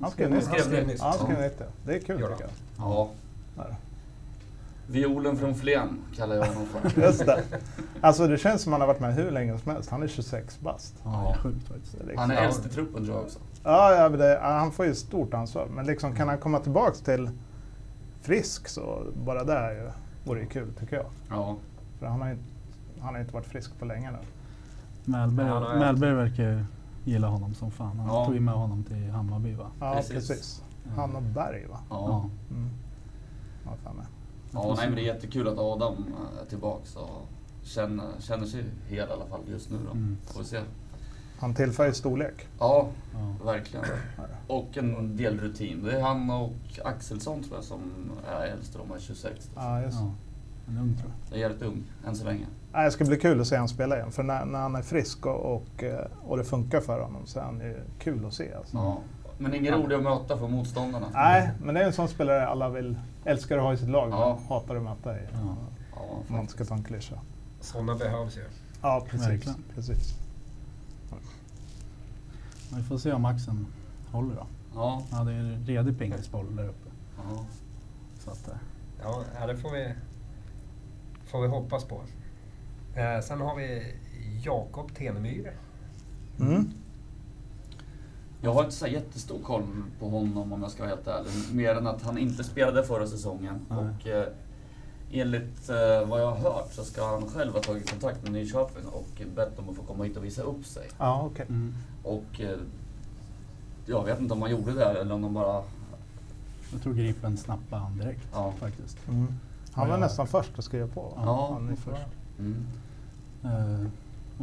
D: Han skrev
A: Han
D: nytt.
A: skrev det nyss.
D: Ja, han skrev nytt. ja. Det är kul
A: Ja.
D: tycker jag.
B: Ja.
D: Där.
B: Violen från Flen kallar jag honom för.
D: Just det. Alltså det känns som han har varit med hur länge som helst. Han är 26 bast.
C: ja, det är sjukt faktiskt.
D: Det är liksom-
B: Han är äldst i truppen tror jag också.
D: Ja, ja, men det, ja, han får ju stort ansvar. Men liksom, kan han komma tillbaks till frisk så bara det är ju, vore ju kul tycker jag.
B: Ja.
D: För han har ju han har ju inte varit frisk på länge nu.
C: Mellberg,
A: Ja, han har ju-
C: Mellberg verkar ju gilla honom som fan. Han
B: Ja.
C: tog ju med honom till Hammarby va?
D: Ja,
B: Precis.
D: precis. Mm. Han och Berg va?
B: Ja.
D: Mm. Ja, fan med.
B: ja nej, men det är jättekul att Adam eh, är tillbaka och känner, känner sig hel i alla fall just nu. Då.
C: Mm.
B: Får vi se.
D: Han tillför ju storlek.
B: Ja,
C: Ja.
B: verkligen. Och en del rutin. Det är han och Axelsson tror jag som är äldst. De är 26.
D: Ja, just.
C: Ja. En ung tror jag.
B: Det är jävligt ung än så länge.
D: Nej, det ska bli kul att se han spela igen. För när, när han är frisk och, och, eh, och det funkar för honom så är han ju kul att se. Alltså.
B: Ja. Men ingen rolig att möta för motståndarna.
D: Nej, men det är en sån spelare alla vill, älskar att ha i sitt lag,
B: Ja.
D: men hatar att möta i.
C: Ja.
B: Ja,
D: Om man ska ta en klyscha.
A: Sådana behövs ju.
D: Ja, precis.
C: Verkligen.
D: precis.
C: Men vi får se om axeln håller då.
B: ja,
C: Ja, det är en redig pingisboll där uppe.
B: ja.
C: Så att, eh,
A: Ja, ja, det får vi, får vi hoppas på. Eh, sen har vi Jakob Tenemyr.
D: Mm.
B: Jag har inte så här jättestor koll på honom om jag ska vara helt ärlig. Mer än att han inte spelade förra säsongen.
C: Nej.
B: Och eh, enligt eh, vad jag har hört så ska han själv ha tagit kontakt med Nyköping och bett om att få komma hit och visa upp sig.
D: Ja, okej.
C: mm.
B: Och eh, jag vet inte om han gjorde det eller om de bara...
C: Jag tror Gripen snappade han direkt
B: Ja.
C: faktiskt.
D: Mm. Han var
C: Ja.
D: nästan först att skriva på. va?
B: Ja,
D: han
C: var först.
B: Mm,
C: Eh,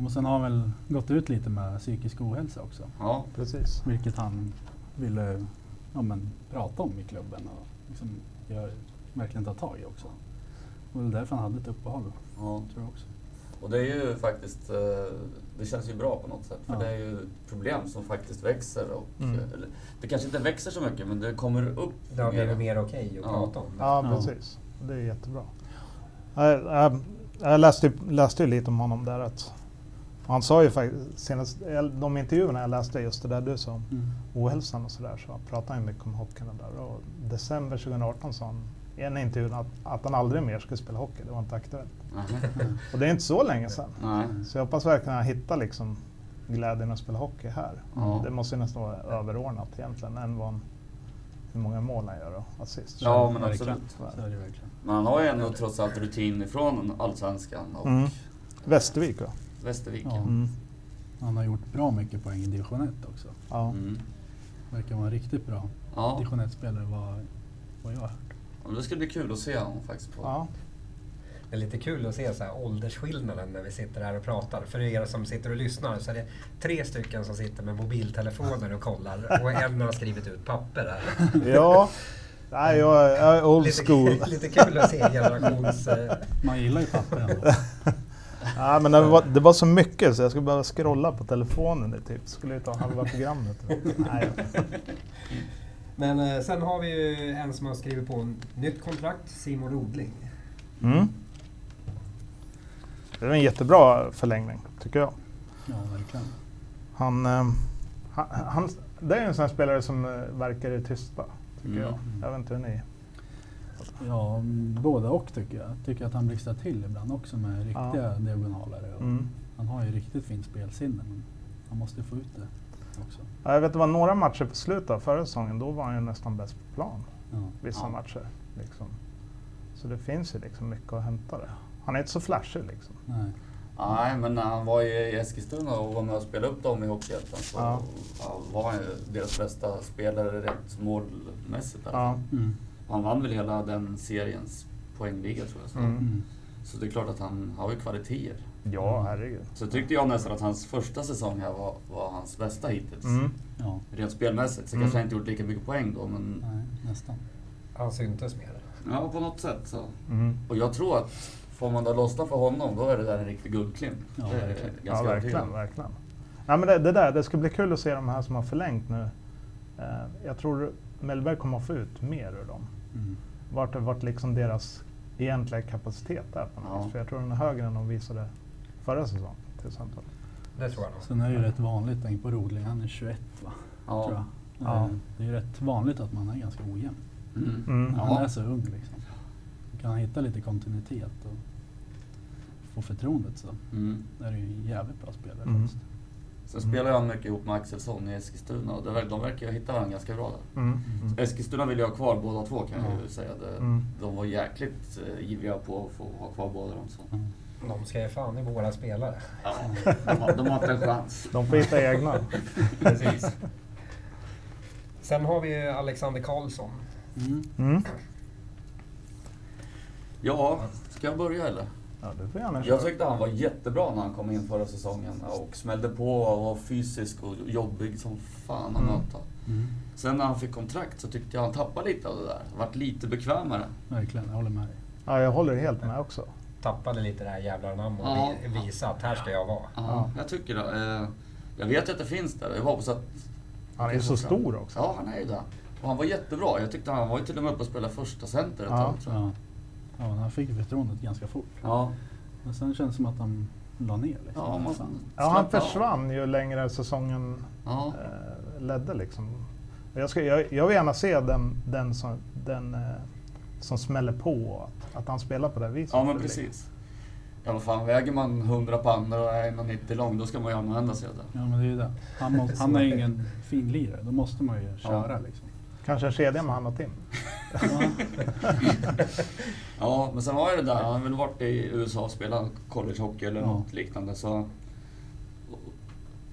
C: och sen har han väl gått ut lite med psykisk ohälsa också.
B: ja,
D: Precis.
C: Vilket han ville ja, men, prata om i klubben och liksom, gör, verkligen ta tag i också. Och det är därför han hade ett uppehåll,
B: ja.
C: tror jag också.
B: Och det är ju faktiskt... Eh, det känns ju bra på något sätt. För
C: Ja.
B: det är ju problem som faktiskt växer. Och,
D: Mm.
B: eh, eller, det kanske inte växer så mycket men det kommer upp.
A: Det har
B: mer.
A: blivit mer okej att
B: Ja.
A: prata om.
D: Ja,
C: Ja.
D: precis. Det är jättebra. Jag, jag, jag läste, ju- läste ju lite om honom där. Att han sa ju faktiskt, senast, el- de intervjuerna jag läste, just det där du sa om ohälsan och sådär, så pratade han ju mycket om hockeyn och där. Och december 2018 sa han i en intervju att, att han aldrig mer skulle spela hockey, det var inte aktuellt.
B: Nej.
D: Och det är inte så länge sedan.
B: Nej.
D: Så jag hoppas verkligen att han hittar liksom glädjen att spela hockey här.
B: Ja.
D: Det måste ju nästan vara överordnat egentligen, än vad han, hur många mål han gör och assist.
B: Ja, men
C: verkligen.
B: absolut.
C: Så är det verkligen.
B: Men han har ju ändå trots allt rutin ifrån Allsvenskan och
D: Mm. Västervik va?
B: Västervik.
C: Ja.
D: Mm.
C: Han har gjort bra mycket poäng i division 1 också.
D: Ja.
B: Mm.
C: Verkar vara en riktigt bra
B: Ja,
C: division 1-spelare vad, vad jag har hört.
B: men det skulle bli kul att se honom faktiskt. På. Mm.
D: Ja.
A: Det är lite kul att se så här åldersskillnaden när vi sitter här och pratar. För er som sitter och lyssnar så är det tre stycken som sitter med mobiltelefoner och kollar och en har skrivit ut papper här.
D: ja. Nej, jag är- jag är old school.
A: Lite, lite kul att se generations... eh,
C: Man gillar ju papper ändå.
D: Ja, men det, var, det var så mycket så jag skulle behöva scrolla på telefonen. Det typ. skulle ju ta halva programmet. Nej,
A: Men eh, sen har vi ju en som har skrivit på en nytt kontrakt, Simon Odling.
D: ja. mm. Det var en jättebra förlängning tycker jag.
C: Ja, verkligen.
D: Han, eh, han, han, det är en sån här spelare som eh, verkar i det tysta. Tycker
B: Mm.
D: jag. jag vet inte hur ni...
C: Ja, mm, både och tycker jag. Tycker att han blixtrar till ibland också med riktiga diagonaler. Och
D: Mm.
C: Han har ju riktigt fint spelsinne men han måste få ut det också.
D: Ja, Jag vet det var några matcher på slutet av förra säsongen. Då var han ju nästan bäst på plan.
C: Ja.
D: Vissa
B: Ja.
D: matcher. Liksom. Så det finns ju liksom mycket att hämta där. Han är inte så flashig liksom.
C: Nej.
B: Nej, men när han var i Eskilstuna och var med och spelade upp dem i Hockeyettan så
D: Ja.
B: ja, var han ju deras bästa spelare rent målmässigt. där.
D: Ja.
C: Mm.
B: Han vann väl hela den seriens poängliga tror jag. Så.
D: Mm.
C: Mm.
B: så det är klart att han har ju kvaliteter.
D: Ja, herregud.
B: Så tyckte jag nästan att hans första säsong här var, var hans bästa hittills.
D: Mm.
C: Ja,
B: Rent spelmässigt. Så
D: Mm.
B: kanske han inte gjort lika mycket poäng då, men
C: nej, nästan.
A: Han syntes mer.
B: ja, på något sätt så.
D: Mm.
B: Och jag tror att får man då lossna för honom, då är det där en riktig guldklimp.
C: Ja,
B: det är jag
C: verkligen.
D: Ja,
B: ganska övertygad
D: verkligen.
B: om.
D: verkligen. Ja, men det, det där, det ska bli kul att se de här som har förlängt nu. Eh, jag tror Mellberg kommer att få ut mer ur dem.
C: Mm.
D: Vart, vart liksom deras egentliga kapacitet där på något
B: Ja.
D: vis. För jag tror den är högre än de visade förra säsongen till exempel.
A: Det tror jag nog.
C: Sen är det ju rätt vanligt, tänk på Rodling, han är 21 va? Tror
B: Ja.
C: jag.
D: Ja.
C: Eh, Det är ju rätt vanligt att man är ganska ojämn.
B: Mm.
D: Mm.
C: Han
B: Ja.
C: är så ung liksom. Kan han hitta lite kontinuitet och få förtroendet så
B: Mm.
C: är det ju en jävligt bra spelare
D: Mm.
C: faktiskt.
B: Sen spelar jag mycket ihop med Axelsson i Eskilstuna och det, ver- de verkar ju hitta varandra ganska bra där.
D: Mm. Mm.
B: Eskilstuna vill jag ha kvar båda två kan jag
C: Ja.
B: ju säga. Det,
D: Mm.
B: De var jäkligt eh, ivriga på att få ha kvar båda dem. Så.
A: De ska ge fan i våra spelare.
B: Ja, de, har, de har inte en chans.
D: De får hitta egna.
B: Precis.
A: Sen har vi ju Alexander Karlsson.
C: Mm.
D: Mm.
B: Ja, ska jag börja eller?
D: Ja, du får gärna köra.
B: Jag tyckte han var jättebra när han kom in förra säsongen och smällde på och var fysisk och jobbig som fan att
D: Mm.
B: möta.
C: Mm.
B: Sen när han fick kontrakt så tyckte jag han tappade lite av det där. Vart lite bekvämare.
C: Verkligen, jag håller med dig.
D: Ja, jag håller helt med också.
A: Tappade lite det här jävla anamma och
B: Ja.
A: vi- visa att här ska jag vara.
B: Ja,
D: Ja.
B: jag tycker det. Eh, Jag vet ju att det finns där. Jag hoppas att...
D: Han är ju så stor också.
B: Ja, han är ju där. Och han var jättebra. Jag tyckte han var ju till och med uppe och spelade första center ett
D: Ja.
B: tag. tror jag.
C: Ja. Ja, men han fick ju förtroendet ganska fort.
B: Ja,
C: Men sen känns det som att han la ner liksom.
B: ja, man
C: Fan.
D: Ja, han
B: slappna av.
D: försvann ju längre säsongen
B: Ja,
D: eh, ledde liksom. Och Jag, ska, jag, jag vill gärna se den, den, som, den eh, som smäller på, att, att han spelar på det här viset.
B: ja men
D: För
B: precis. Ja, vad fan, väger man 100 pannor och är 1,90 lång, då ska man ju använda sig av det.
C: Ja men det är ju det. Han, måste, han är ju ingen finlirare, då måste man ju köra liksom.
D: det- Kanske en kedja med han och Tim.
C: Ja.
B: Ja, men sen var ju det där. Han har väl varit i USA och spelat collegehockey eller
C: Ja.
B: något liknande. Så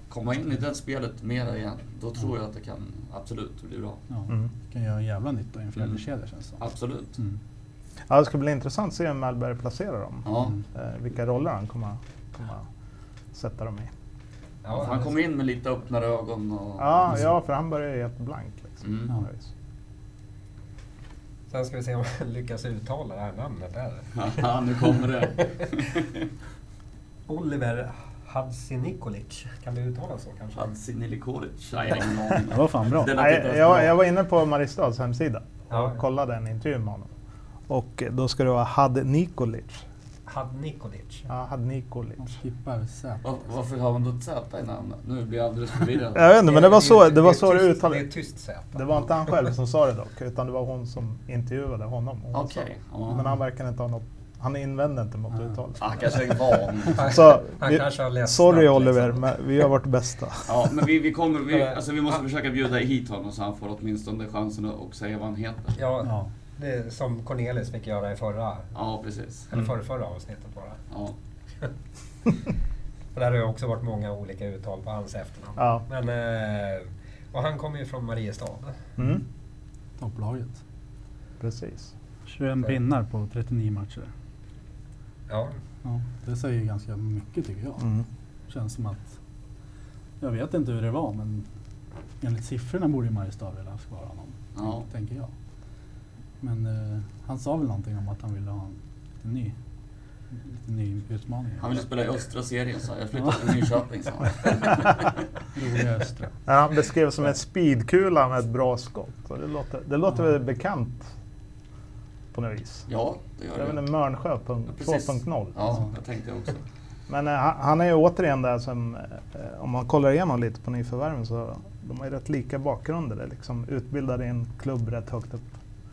B: komma in i det spelet mera igen, då tror jag att det kan absolut bli bra.
C: Ja,
D: Mm.
C: kan göra en jävla nytta i en fjärdekedja
B: Mm.
C: känns det som.
B: Absolut.
C: Mm.
D: Ja, det ska bli intressant att se hur Mellberg placerar dem.
B: Ja.
C: Mm.
D: Eh, vilka roller han kommer, kommer sätta dem i.
A: Ja,
B: Han kom in med lite öppnare ögon och...
D: Ja, ja för han börjar ju helt blank. Liksom.
B: Mm.
C: Ja.
A: Sen ska vi se om jag lyckas uttala det här namnet. Där.
B: Haha, nu kommer det.
A: Oliver Hadzinikovic. Kan det uttalas så kanske?
B: Hadzinilikovic. Nej, jag har ingen aning.
C: Det var fan bra.
B: Det lät inte
D: Nej,
B: ens
D: jag,
B: bra.
D: jag var inne på Mariestads hemsida och
A: Ja.
D: kollade en intervju med honom. Och då ska det vara Had Nikolic.
A: Hadnikolic.
D: Ja, Had
C: Han
D: Nikolic.
C: skippar Z.
B: Var, varför har man då ett Z i namnet? Nu blir jag alldeles förvirrad.
D: Jag vet inte, men det var så det, var
A: är
D: så det
A: tyst- Det är
D: uttalades.
A: tyst Z.
D: Det var inte han själv som sa det dock, utan det var hon som intervjuade honom. och hon sa
B: Okej.
D: det. Men
B: Ja.
D: han verkar inte ha något... Han invände inte mot
C: Ah.
D: uttalet.
B: Ah, kanske är van.
D: Så,
A: han
D: vi,
A: kanske har läst
D: sorry
A: snabbt,
D: Oliver,
A: liksom.
D: men vi gör vårt bästa.
B: Ja, men vi, vi kommer... Vi, alltså, vi måste
A: Ja.
B: försöka bjuda hit honom så han får åtminstone chansen att och säga vad han heter.
A: Ja,
C: Ja.
A: Det är som Cornelis fick göra i förra,
B: Ja, precis.
A: eller förra, förra avsnittet bara.
B: Ja.
A: Och där har ju också varit många olika uttal på hans efternamn.
D: Ja.
A: Men, eh, och han kommer ju från Mariestad.
D: Mm,
C: Topplaget.
D: precis.
C: 21 pinnar på 39 matcher.
A: Ja,
C: Ja, det säger ju ganska mycket tycker jag.
D: Mm.
C: Känns som att... Jag vet inte hur det var men enligt siffrorna borde ju Mariestad vilja ha kvar honom.
B: Ja.
C: Tänker jag. Men eh, han sa väl någonting om att han ville ha en lite ny, lite ny utmaning.
B: Han ville spela i östra serien sa jag. Jag flyttade till Nyköping sa han. Mm.
C: Roliga Östra.
D: Ja, han beskrevs som en speedkula med ett bra skott. Och det låter, det låter väl bekant på något vis.
B: Ja, det
D: Det är
B: gör
D: väl
B: det.
D: en Mörnsjö
B: Ja,
D: punkt-
B: precis.
D: 2.0.
B: Ja, jag tänkte också.
D: Men eh, han- han är ju återigen där som, eh, om man kollar igenom lite på nyförvärven så de har ju rätt lika bakgrunder. Det är Liksom utbildade i en klubb rätt högt upp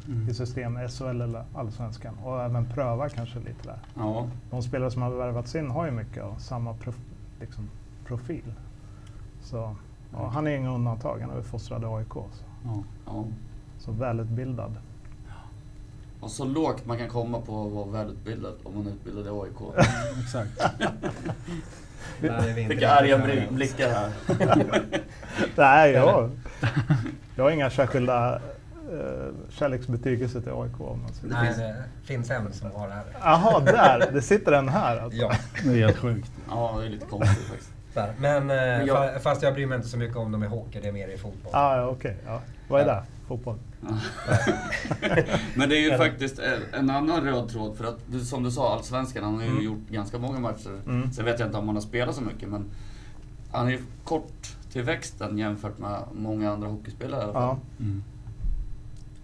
C: Mm.
D: i systemet, SHL eller Allsvenskan. Och även pröva kanske lite där.
B: Ja.
D: De spelare som har värvats in har ju mycket av samma prof, liksom, profil. Så, och han är ju inget undantag, han är väl fostrad i AIK. Så,
C: Ja.
B: ja.
D: så välutbildad.
B: Och så lågt man kan komma på att vara välutbildad om man är utbildad i AIK.
C: Exakt.
A: där är vi inte
B: Vilka arga
A: riktigt
B: bli-
A: överens.
B: blickar här.
D: Nej, jag, jag har inga särskilda eh, kärleksbetygelser till AIK. Om man säger.
A: Nej, det finns en som har det här.
D: Jaha, där! Det sitter en här alltså.
A: Ja,
C: Det är helt sjukt.
B: Ja, det är lite konstigt faktiskt.
A: där. Men, eh,
B: Men jag-
A: fa- fast jag bryr mig inte så mycket om dem i hockey, det är mer i fotboll.
D: Ah, ja, okej. Ja. Vad är det? Fotboll?
B: Men det är ju faktiskt eh, en annan röd tråd för att du- som du sa, Allsvenskan, han har ju
D: Mm.
B: gjort ganska många matcher.
D: Mm.
B: Sen vet jag inte om han har spelat så mycket men han är ju kort till växten jämfört med många andra hockeyspelare i alla fall.
D: Ja.
C: Mm.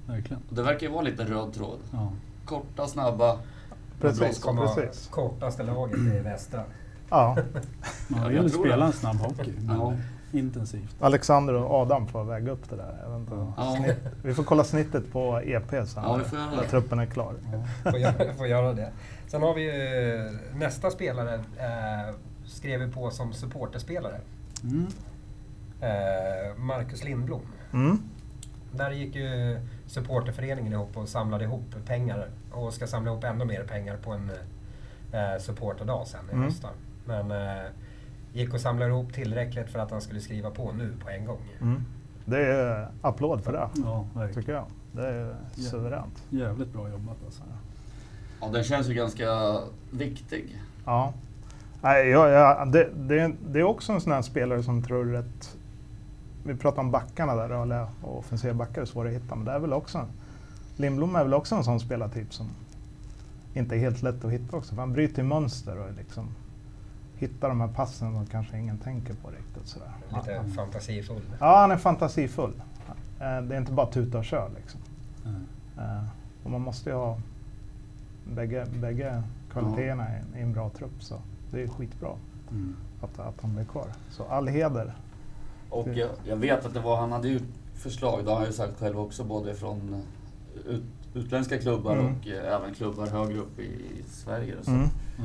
C: Verkligen.
B: Och Det verkar ju vara lite röd tråd.
C: Ja.
B: Korta, snabba,
D: Precis,
A: Komma
D: precis.
A: Kortaste laget i västra.
D: Ja,
B: Ja,
C: Man vill
B: jag
C: ju
B: tror
C: spela
B: det.
C: en snabb hockey, men
B: Ja.
C: intensivt.
D: Alexander och Adam får väga upp det där. Jag vet inte.
B: Ja.
D: Snitt. Vi får kolla snittet på EP sen
B: Ja, vi får göra
D: när
B: det.
D: truppen är klar.
A: Får göra, får göra det. Sen har vi ju eh, nästa spelare eh, skrev vi på som supporterspelare.
C: Mm.
A: Eh, Marcus Lindblom.
D: Mm.
A: Där gick ju supporterföreningen ihop och samlade ihop pengar och ska samla ihop ännu mer pengar på en eh, supporterdag sen i
D: Mm.
A: höst. då. Men eh, gick och samlade ihop tillräckligt för att han skulle skriva på nu på en gång.
D: Mm. Det är applåd för det,
C: Ja, verkligen.
D: tycker jag. Det är suveränt.
C: Jävligt bra jobbat alltså.
B: Ja, den känns ju ganska viktig.
D: Ja. Nej, jag, jag, det, det, det är också en sån här spelare som tror rätt... Vi pratar om backarna där, rörliga och offensiva backar är svåra att hitta, men det är väl också... en- Lindblom är väl också en sån spelartyp som inte är helt lätt att hitta också, för han bryter ju mönster och liksom hittar de här passen som kanske ingen tänker på riktigt. Sådär.
A: Lite fantasifull.
D: Ja, han är fantasifull. Eh, Det är inte bara tuta och kör liksom.
C: Mm.
D: Eh, Och man måste ju ha bägge, bägge kvaliteterna i en- i en bra trupp, så det är skitbra
C: Mm.
D: att, att han blev kvar. Så all heder.
B: Och jag, jag vet att det var, han hade ju förslag, det har han ju sagt själv också, både från eh, ut, utländska klubbar
D: Mm.
B: och eh, även klubbar högre upp i, i Sverige. Så
D: Mm.
C: Ja.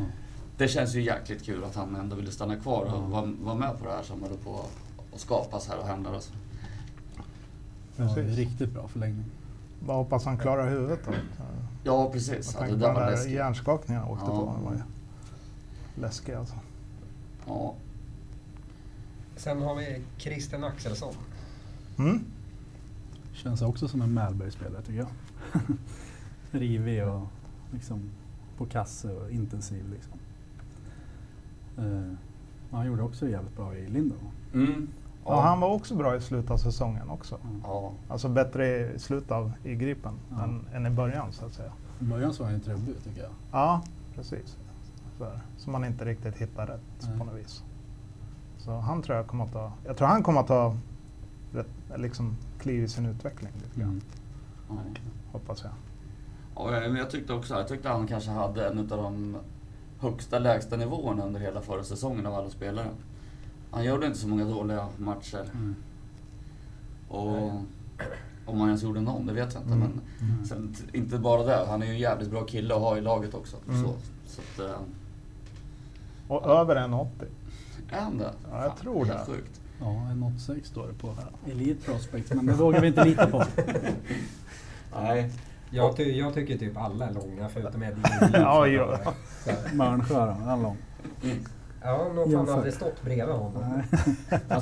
B: Det känns ju jäkligt kul att han ändå ville stanna kvar och
C: Mm.
B: vara var med på det här som håller på att skapas här och händer. Alltså.
C: Ja, det är
D: Precis.
C: riktigt bra förlängning.
D: Bara hoppas han klarar huvudet då. Eh,
B: Ja, precis.
D: Med
B: Ja, det
D: tanke på
B: där
D: den
B: var
D: där
B: läskigt.
D: hjärnskakningen han åkte
B: Ja.
D: på. Den var ju läskig alltså.
B: Ja.
A: Sen har vi Christian Axelsson.
D: Mm.
C: Känns också som en Mälberg-spelare tycker jag. Rivig och liksom på kasse och intensiv liksom. Eh, han gjorde också jävligt bra i Lindo.
B: Mm.
D: Och han var också bra i slutet av säsongen också.
B: ja.
D: Alltså bättre i slutet av i Gripen
C: Ja.
D: än, än i början så att säga.
C: I början så var han ju trubbig tycker jag.
D: Ja, precis. Så här, Som man inte riktigt hittar rätt
C: Nej.
D: på något vis. Så han tror jag kommer att ta, jag tror han kommer att ta rätt, liksom kliv i sin utveckling lite grann,
C: Mm.
B: ja.
D: hoppas jag.
B: Ja, men jag tyckte också Jag tyckte han kanske hade en utav de högsta lägsta nivåerna under hela förra säsongen av alla spelare. Han gjorde inte så många dåliga matcher.
C: Mm.
B: Och om han ens gjorde någon, det vet jag inte.
D: Mm.
B: Men sen, t- inte bara det, han är ju en jävligt bra kille att ha i laget också.
D: Mm.
B: Så, så att, eh,
D: Och över 1,80.
B: är han det?
D: Ja, jag tror
B: helt
D: det.
B: Sjukt.
C: Ja, en 86 står det på Elite Prospect, men det vågar vi inte lita på.
B: Nej.
A: Jag, ty- jag tycker typ alla är långa förutom Edvin.
D: Ja, ja.
C: Mörnsjö då, han lång.
A: Ja, någon fan
C: Jämfört.
A: aldrig stått bredvid honom.
B: Han,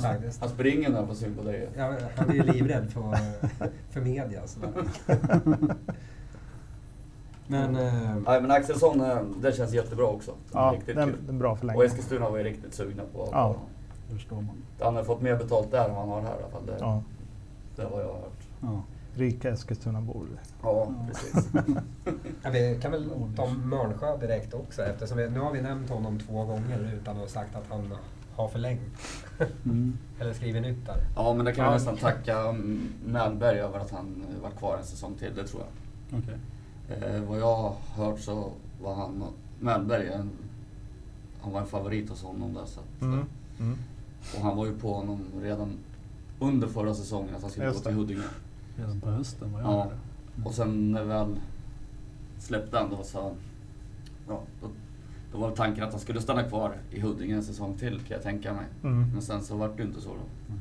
A: Faktiskt.
B: han springer när han får syn på dig.
A: Ja, han är ju livrädd för, för media. Så. Men eh,
B: Nej, men Axelsson, eh, det känns jättebra också.
D: Ja,
B: Riktigt
D: det är en,
B: kul.
D: det är en bra
B: Och
D: förlängning.
B: Eskilstuna var ju riktigt sugna på
D: Ja.
B: på-
C: Förstår man.
B: Han har fått mer betalt där än vad han har här i alla fall. Det,
D: Ja,
B: det har jag hört.
C: Ja.
D: rika Eskilstunabor.
B: Ja,
C: Ja.
B: precis.
A: ja, vi kan väl ta Mörnsjö direkt också eftersom vi, nu har vi nämnt honom två gånger utan att ha sagt att han har förlängt.
C: Mm.
A: Eller skrivit nytt där.
B: Ja, men det kan jag
D: Ja.
B: nästan tacka mm, Mellberg över att han eh, var kvar en säsong till, det tror jag.
C: Okej.
B: Eh, vad jag har hört så var han, Mellberg, en, han var en favorit hos honom där. Så att,
D: Mm. Mm.
B: Och han var ju på honom redan under förra säsongen att han skulle gå
D: Just
B: till
D: det. Mm.
B: Huddinge.
C: Redan på hösten vad jag
B: Ja.
C: hörde.
B: Och sen när väl släppte han då så, ja, då, då var tanken att han skulle stanna kvar i Huddinge en säsong till kan jag tänka mig.
D: Mm.
B: Men sen så vart det ju inte så då.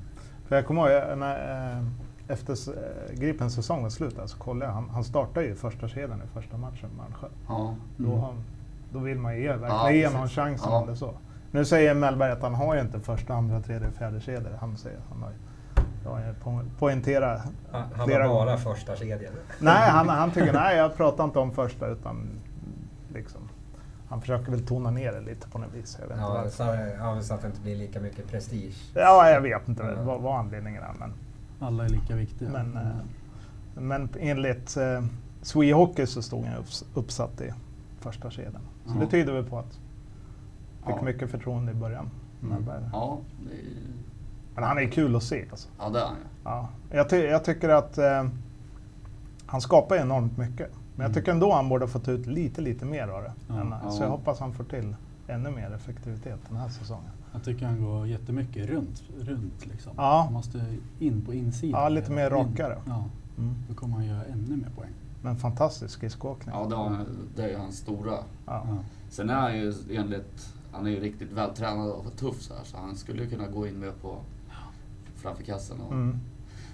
D: För jag kommer ihåg, jag- när, eh, efter s- eh, Gripens säsong var slut där så kollade jag, han, han startade ju första kedjan i första matchen med Malmsjö.
B: Ja,
D: Då,
C: Mm.
D: har, då vill man ju ge, verkligen
B: Ja,
D: ge
B: precis.
D: honom chansen
B: Ja.
D: om det är så. Nu säger Mellberg att han har ju inte första, andra, tredje, fjärde kedjor. Han säger han har ju, jag har ju po- poängterat.
A: Han, han var
D: Flera gånger.
A: bara första kedjan.
D: Nej, han, han tycker nej, jag pratar inte om första utan liksom. Han försöker väl tona ner det lite på något vis. Jag vet inte
A: Ja,
D: varför.
A: så, ja, så att det inte blir lika mycket prestige.
D: ja, jag vet inte vad, vad anledningen är. Men,
C: Alla är lika viktiga.
D: men, eh, men enligt eh, Swee Hockey så stod han upps- uppsatt i första kedjan. Så
B: Ja.
D: det tyder väl på att han
B: Ja. Mm.
D: fick mycket förtroende i början. Mellberg.
B: ja, det, är-
D: Men han är kul att se. Alltså.
B: ja det är han ju.
D: Ja. Jag, ty jag tycker att eh, han skapar enormt mycket. Men jag tycker ändå han borde ha fått ut lite, lite mer av det.
C: Ja.
D: än, Så jag
B: Mm. Ja.
D: hoppas han får till ännu mer effektivitet den här säsongen.
C: Jag tycker han går jättemycket runt. runt liksom.
D: Ja.
C: Han måste in på insidan.
D: Ja, lite mer rakare.
C: In. Ja,
D: Mm.
C: då kommer han göra ännu mer poäng.
D: Men fantastisk skridskoåkning.
B: Ja, det, har, han- det är ju hans stora.
D: Ja.
C: Ja.
B: Sen är han ju enligt, han är ju riktigt vältränad och tuff så här så han skulle ju kunna gå in med på framför kassen. Och,
D: Mm.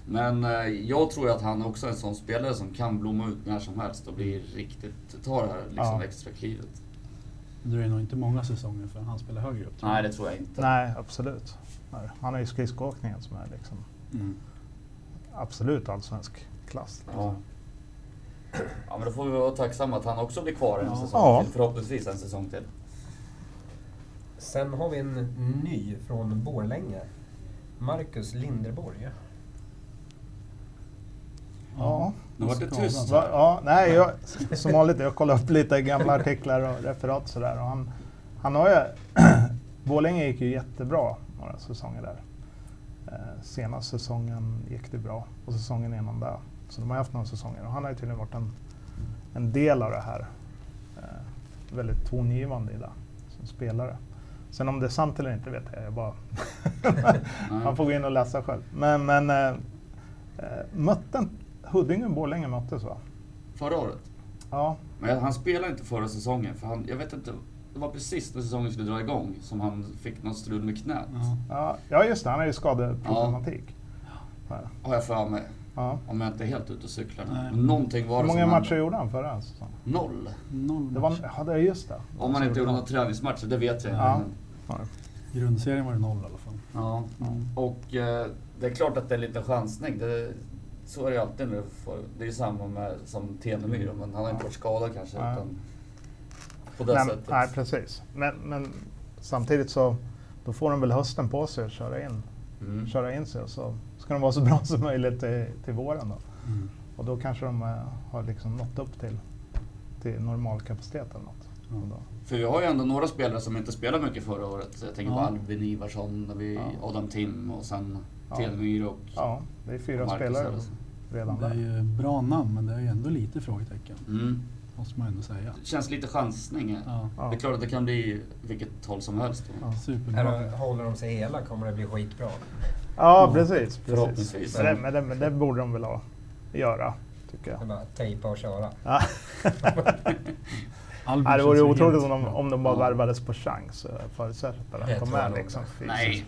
B: Men eh, jag tror ju att han också är en sån spelare som kan blomma ut när som helst och bli riktigt, tar det här liksom
D: Mm. Ja.
B: extra klivet.
C: Det är nog inte många säsonger för han spelar högre upp. tror jag.
B: Nej, det tror jag inte.
D: Nej, absolut. Nej. Han har ju skridskoåkningen som är liksom
C: Mm.
D: absolut allsvensk klass.
B: Ja. ja, men då får vi vara tacksamma att han också blir kvar en
C: Ja.
B: säsong
D: Ja.
B: till. Förhoppningsvis en säsong till.
A: Sen har vi en ny från Borlänge. Marcus Linderborg.
D: Ja.
B: Nu vart det
C: Skadad.
B: tyst.
D: Va, ja, nej, jag, som vanligt, jag kollar upp lite gamla artiklar och referat sådär. Och han, han har ju, Borlänge gick ju jättebra några säsonger där. Eh, senaste säsongen gick det bra och säsongen innan där. Så de har haft några säsonger och han har ju tydligen varit en, en del av det här. Eh, väldigt tongivande i det som spelare. Sen om det är sant eller inte vet jag, jag bara han får gå in och läsa själv. Men, men eh, eh, mötte Huddinge och Borlänge möttes va?
B: Förra året.
D: Ja,
B: Men han spelade inte förra säsongen för han, jag vet inte. Det var precis när säsongen skulle dra igång som han fick något strul med knät.
C: Ja.
D: ja, ja just det, han har ju skadeproblematik.
B: Har jag för mig.
D: Ja.
B: Om jag inte är helt ute och cyklar.
C: Nej.
B: Men Någonting var
D: Hur
B: det
D: många
B: som
D: matcher
B: hände.
D: gjorde han förra säsongen?
B: Noll.
C: Noll
D: Det var,
C: match.
D: ja, det är just det.
B: Om man inte gjorde några träningsmatcher, det vet jag inte.
D: Ja.
B: Men-
C: Grundserien var det noll i alla fall.
B: Ja. Och eh, det är klart att det är lite chansning. Det, så är det ju alltid när du får... Det är ju samma med, som Tenemyr, men han har inte varit skadad kanske.
D: Nej.
B: Utan på det
D: Nej, men-
B: sättet.
D: nej, precis. Men, men samtidigt så då får de väl hösten på sig att köra in,
B: Mm.
D: köra in sig och så ska de vara så bra som möjligt till, till våren. Då.
C: Mm.
D: Och då kanske de eh, har liksom nått upp till, till normalkapacitet eller något.
C: Ja.
D: Och då,
B: För vi har ju ändå några spelare som inte spelade mycket förra året. Jag tänker på
C: Ja.
B: Albin Ivarsson, och vi,
D: Ja.
B: Adam Tim och sen
D: Ja.
B: Tenemyr och
D: ja, det är fyra
B: Marcus
D: spelare
B: Ellis.
D: redan
C: Det är
D: där.
C: ju bra namn men det är ju ändå lite frågetecken.
B: Mm.
C: Måste man ändå säga.
B: Det känns lite chansning. eh. här.
C: Ja.
D: Ja.
B: Det är klart att det kan bli vilket håll som helst. då.
D: Ja.
A: Här
C: Superbra.
A: håller de sig hela kommer det bli skitbra.
D: Ja,
C: Ja,
D: precis. precis.
B: Förhoppningsvis.
D: Men det, men, det, men det borde de väl ha, göra, tycker
A: Det är
D: jag.
A: bara att tejpa och köra.
D: Ja.
C: Albin
D: Nej, det vore ju
C: känns ju
D: otroligt
C: helt-
D: om de, om de bara
B: Ja.
D: värvades på chans. eh, Förutsatt att
A: Det
D: de kom
A: tror jag
D: med
A: nog.
D: liksom fysiskt.
B: Nej,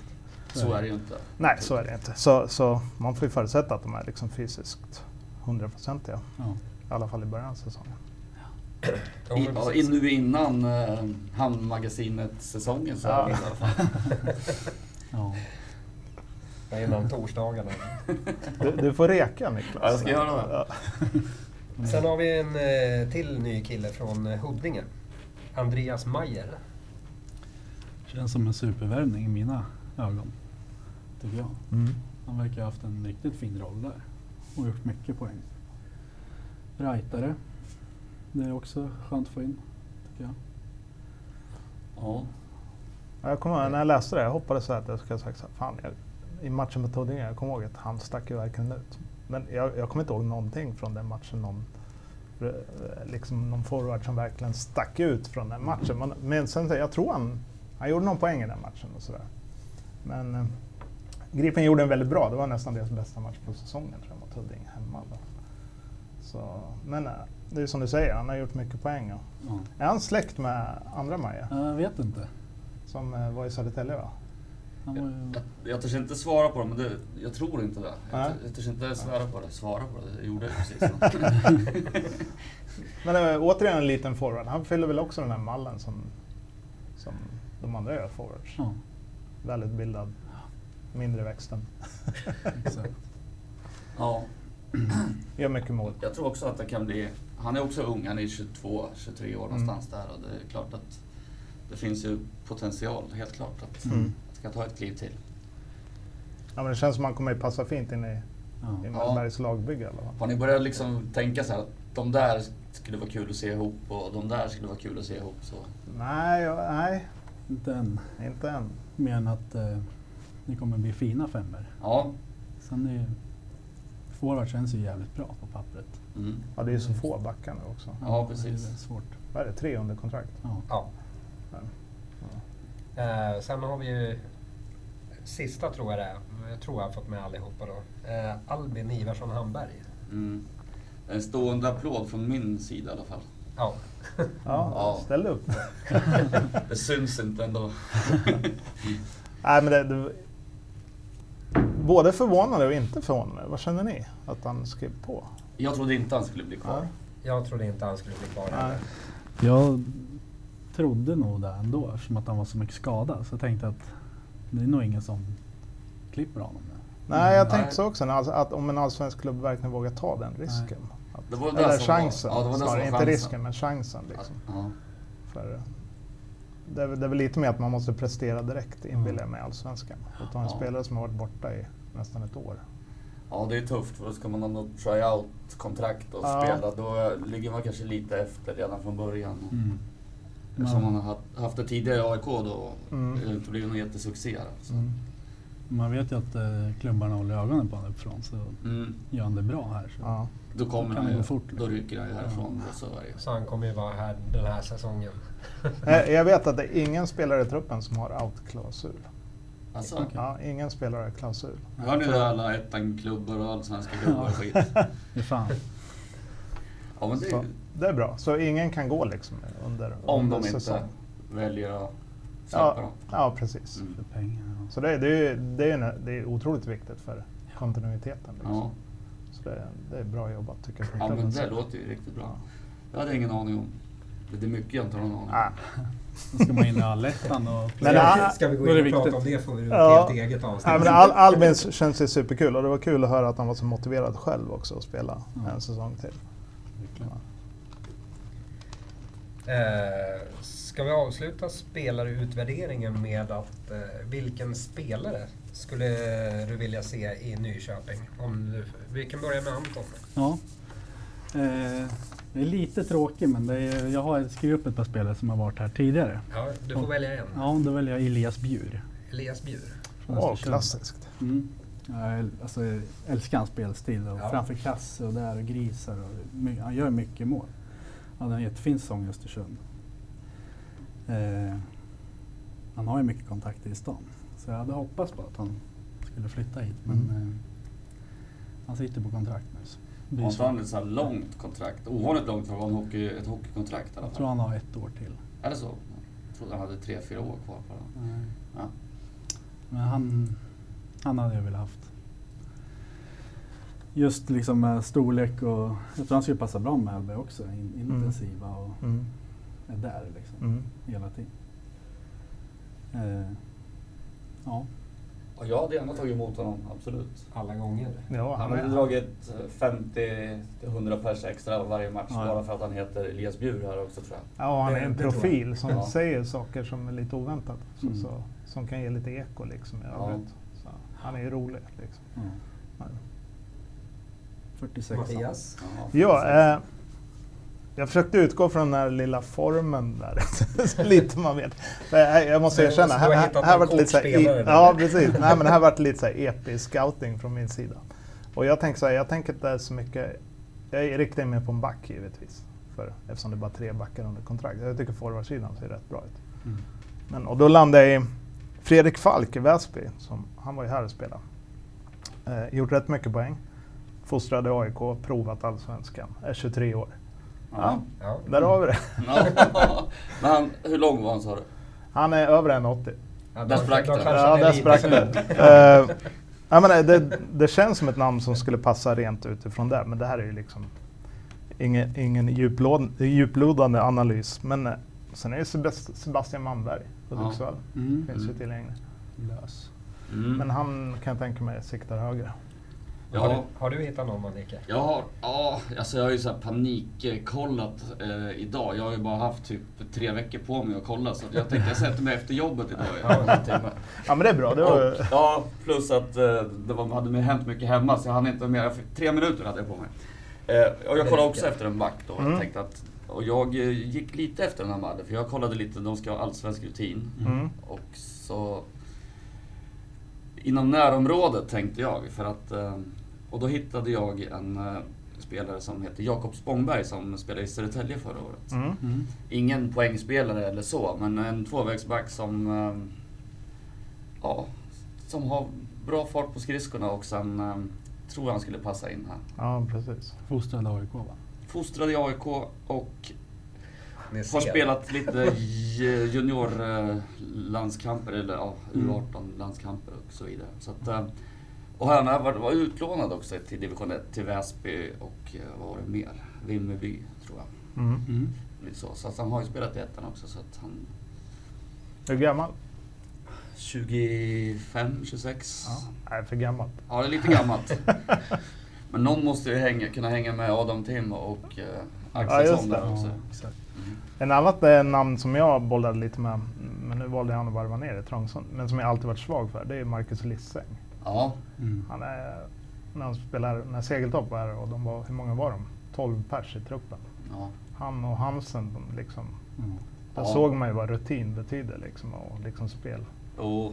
B: så är det ju inte.
D: Nej, så är det inte. Så, så man får ju förutsätta att de är liksom fysiskt hundraprocentiga.
C: Ja.
D: I alla fall i början av säsongen.
A: Ja,
B: I,
A: men
B: ja,
A: precis.
B: in, nu innan eh, Hamnmagasinet-säsongen så är
D: Ja.
B: det i alla fall.
C: Ja.
A: Ja, Innan torsdagarna.
D: Mm. Du, du får reka
B: Ja,
D: Niklas.
B: jag ska göra det.
D: Ja.
A: Sen har vi en eh, till ny kille från eh, Huddinge. Andreas Mayer.
C: Känns som en supervärvning i mina ögon. Tycker jag.
D: Mm.
C: Han verkar ha haft en riktigt fin roll där. Och gjort mycket poäng. Rightare. Det är också skönt att få in. Tycker jag.
B: Ja.
D: Ja, Jag kommer ihåg när jag läste det, jag hoppades så här att jag skulle ha sagt så här, fan, jag, i matchen mot Huddinge, jag kommer ihåg att han stack ju verkligen ut. Men jag, jag kommer inte ihåg någonting från den matchen, någon, eh, liksom någon forward som verkligen stack ut från den matchen. Men, men sen, så- jag tror han, han gjorde någon poäng i den matchen och sådär. Men eh, Gripen gjorde en väldigt bra, det var nästan deras bästa match på säsongen tror jag, mot Huddinge hemma. Då. Så, men eh, det är ju som du säger, han har gjort mycket poäng. Och,
C: Ja.
D: är han släkt med andra Maja,
C: Jag vet inte.
D: som eh, var i Södertälje va?
C: Han var ju...
B: Jag, jag törs inte svara på det, men det, jag tror inte det. Jag,
D: Nej.
B: tör- jag törs inte svära på det. Svara på det, jag gjorde det precis.
D: Men äh, återigen en liten forward. Han fyller väl också den här mallen som, som de andra gör, forwards.
C: Ja,
D: Välutbildad, mindre i växten.
C: exakt.
B: ja,
D: Gör mycket mål.
B: jag tror också att det kan bli... Han är också ung, han är 22, 23 år någonstans där och det är klart att det finns ju potential, helt klart, att,
D: Mm.
B: att det kan ta ett kliv till.
D: Ja, men det känns som att han kommer ju passa fint in i,
C: Ja.
D: i Mellbergs lagbygge i alla fall.
B: Har ni börjat liksom tänka så här att de där skulle vara kul att se ihop och de där skulle vara kul att se ihop? Så.
D: Nej, jag- nej,
C: Inte än.
D: inte än.
C: Mer än att eh, det kommer bli fina femmer.
B: Ja,
C: Sen är ju... Forward känns ju jävligt bra på pappret.
B: Mm.
D: Ja, det är så få backar nu också.
B: Ja,
C: Det är
B: precis.
C: svårt.
D: Vad är det, tre under kontrakt?
C: Ja.
A: Ja.
D: Ja.
A: Eh, sen har vi ju sista tror jag det är. Jag tror jag har fått med allihopa då. Eh, Albin Ivarsson Hamberg.
B: Mm. En stående applåd från min sida i alla fall.
A: Ja.
D: Ja,
B: Ja.
D: ställ upp.
B: Det syns inte ändå.
D: Nej, men det, det, både förvånade och inte förvånade. Vad känner ni att han skrev på?
B: Jag trodde inte han skulle bli kvar.
D: Ja.
A: Jag trodde inte han skulle bli kvar
D: Nej.
A: heller.
C: Jag trodde nog det ändå eftersom att han var så mycket skadad. Så jag tänkte att det är nog ingen som klipper honom nu.
D: Nej, jag
B: Mm. Nej.
D: tänkte så också. när alls- Att om en allsvensk klubb verkligen vågar ta den risken. Att,
B: Det var det
D: eller
B: som var-
D: chansen.
B: ja, det var det som
D: snarare.
B: var
D: inte
B: chansen.
D: risken, men chansen. Liksom.
B: Alltså, Ja.
D: För, eh, det, är, väl- det är väl lite mer att man måste prestera direkt, inbillar jag mig, i allsvenskan. Och ta en
B: Mm. Ja.
D: spelare som har varit borta i nästan ett år.
B: ja, det är tufft för då ska man ändå try out kontrakt och
D: Ja.
B: spela. Då ligger man kanske lite efter redan från början.
C: Mm.
B: Eftersom
C: Man,
B: man har haft- haft det tidigare i AIK då
D: Mm.
B: det har inte blivit någon jättesuccé. här, alltså. Så.
D: Mm.
C: man vet ju att eh, klubbarna håller ögonen på honom uppifrån så
B: Mm.
C: gör han det bra här. Så.
D: Ja.
B: Då kommer
C: Kan
B: han
C: det
B: ju,
C: gå fort?
B: då rycker han ju härifrån. och Så är det. ju.
A: Så han kommer ju vara här den här säsongen.
D: Nej, Eh, Jag vet att det är ingen spelare i truppen som har out-klausul.
B: Alltså,
C: Okej.
D: Ja, ingen spelare har klausul.
B: Hör ni det alla ettan-klubbar och allsvenska klubbar och skit?
C: Det är fan.
B: Ja, men
D: Så,
B: det,
D: det är bra. Så ingen kan gå liksom under,
B: om
D: under
B: de inte
D: säsong.
B: väljer att släppa
D: Ja,
B: dem.
D: ja, precis.
B: Mm.
C: För pengar. och-
D: Så det, är- det, är, ju- det, är, en- det är otroligt viktigt för kontinuiteten. Liksom.
B: Ja.
D: Så det, är- det är bra jobbat tycker jag. från
B: ja, men
D: klubbens
B: det
D: sida.
B: låter ju riktigt bra. Jag hade ingen aning om. Det är mycket jag inte har någon aning
D: Ah,
B: om.
C: Då ska man in i allettan och...
D: Men
A: ska,
D: ah,
A: ska vi gå
C: då är
A: in
C: det
A: och prata
C: viktigt.
A: om det får vi ett
D: Ja.
A: helt eget avsnitt.
D: Nej, men Al Albin s- känns ju superkul och det var kul att höra att han var så motiverad själv också att spela
C: Mm.
D: en säsong till.
A: Eh, ska vi avsluta spelarutvärderingen med att eh, vilken spelare skulle du vilja se i Nyköping? Om du, vi kan börja med Anton.
C: Ja. Eh, det är lite tråkigt men det är, jag har skrivit upp ett par spelare som har varit här tidigare.
A: Ja, du får
C: Ja.
A: välja en.
C: Ja, då väljer jag Elias Bjur.
A: Elias Bjur.
C: från
D: Åh,
C: Östersund.
D: klassiskt.
C: Mm. Jag äl- alltså, jag älskar hans spelstil. Och
A: Ja.
C: Framför kasse och där och grisar. Och my- han gör mycket mål. Han hade en jättefin säsong i Östersund. Eh, han har ju mycket kontakter i stan. Så jag hade hoppats på att han skulle flytta hit. Men eh, han sitter på kontrakt nu. Så det blir
B: Har inte han
C: svårt.
B: ett så här långt kontrakt? Ovanligt långt för att vara en hockey, ett hockeykontrakt i alla
C: jag tror
B: fall.
C: han har ett år till.
B: Är det så? Jag trodde han hade tre, fyra år kvar på den.
C: Nej.
B: Ja.
C: Men han, han hade jag velat haft. Just liksom med storlek och... Jag tror han skulle passa bra med Elbe också. In, intensiva och
D: Mm.
C: är där liksom
D: Mm.
C: hela tiden. Eh, ja,
B: Och jag hade gärna tagit emot honom, absolut.
A: Alla gånger.
D: Ja,
B: Han
D: han
B: hade
D: är,
B: dragit eh, 50-100 pers extra varje match
C: Ja.
B: bara för att han heter Elias Bjur här också tror jag.
D: ja, han är en
A: Det- det tror
D: profil som
B: Ja.
D: säger saker som är lite oväntat. Så,
C: Mm.
D: så, som kan ge lite eko liksom i
B: Ja.
D: övrigt. Så, han är ju rolig. Liksom.
C: ja. 46
A: Mattias.
B: Ja,
D: Ja,
B: precis.
D: eh, jag försökte utgå från den här lilla formen där. Så lite man vet. Men jag- jag måste
A: Du-
D: erkänna,
A: du har
D: här, här,
A: hittat
D: här
A: någon
D: vart lite så här,
A: kortspelare
D: i,
A: där.
D: ja, precis. Nej, men här vart lite så här episk scouting från min sida. Och jag tänker så här, jag tänker inte så mycket. Jag riktar mig på en back givetvis. För, eftersom det är bara tre backar under kontrakt. Jag tycker forwardsidan ser rätt bra ut.
C: Mm.
D: Men, och då landade jag i Fredrik Falk i Väsby. Som, han var ju här och spelade. Eh, gjort rätt mycket poäng. Fostrad i AIK, provat allsvenskan. Är 23 år.
B: Ja.
A: Ja.
D: Där har vi det.
B: Ja. Men han, hur lång var han sa du?
D: Han är över 1,80.
A: Ja,
B: Där sprack
A: då
B: det.
A: kanske är
D: Ja, där
A: lite
D: sprack
A: slut.
D: det. Eh, ja, men eh, det. Det känns som ett namn som skulle passa rent utifrån det, men det här är ju liksom ingen, ingen djuplod, djuplodande analys. Men eh, sen är det Sebast- Sebastian Manberg, Hudiksvall,
C: Mm.
D: finns ju
B: Mm.
D: tillgänglig.
C: Lös.
B: Mm.
D: Men han kan jag tänka mig siktar högre.
A: Har,
B: Ja,
A: du, har du hittat någon Annika?
B: jag har, ja, alltså jag har ju så här panikkollat eh, idag. Jag har ju bara haft typ tre veckor på mig att kolla så att jag tänkte jag sätter mig efter jobbet idag. Ja, typ.
D: Ja men det är bra. Det
B: Och,
D: var,
B: ja, plus att eh, det var, hade mig hänt mycket hemma så jag hann inte med. Jag fick, tre minuter hade jag på mig. Eh, och jag kollade också efter en back då. Jag
D: Mm.
B: tänkte att, och jag eh, gick lite efter den här Madde, för jag kollade lite, de ska ha allsvensk rutin.
D: mm,
B: Och så... Inom närområdet tänkte jag, för att... eh, Och då hittade jag en eh, spelare som heter Jakob Spångberg som spelade i Södertälje förra året.
D: Mm.
C: Mm.
B: Ingen poängspelare eller så, men en tvåvägsback som... ehm, Ja, som har bra fart på skridskorna och sen ehm, tror jag han skulle passa in här.
D: Ja, precis.
C: Fostrad AIK va?
B: Fostrad i AIK och
A: Ni
B: har
A: ser.
B: spelat lite juniorlandskamper, eller ja,
D: Mm.
B: U18-landskamper och så vidare. Så att, eh, och han har varit- var utlånad också till division 1, till Väsby och eh, vad var det mer? Vimmerby, tror jag.
D: Mm.
C: Mm.
B: Lite så så att han har ju spelat i ettan också, så att han...
D: Hur gammal?
B: 25, 26?
D: Ja. Nej, för gammalt.
B: Ja, det är lite gammalt. Men någon måste ju hänga, kunna hänga med Adam Tim och eh, Axelsson
D: Ja,
B: där också.
C: exakt.
D: En annat eh, namn som jag bollade lite med, men nu valde han att varva ner det, Trångsson, men som jag alltid varit svag för, det är Marcus Lissäng.
B: Ja,
C: Mm.
D: Han är, när, han spelar, när Segeltorp var här, och de var, hur många var de? 12 pers i truppen.
B: ja.
D: Han och Hansen, de liksom,
C: Mm.
D: där
B: Ja.
D: såg man ju vad rutin betyder liksom, och liksom spel.
B: Jo,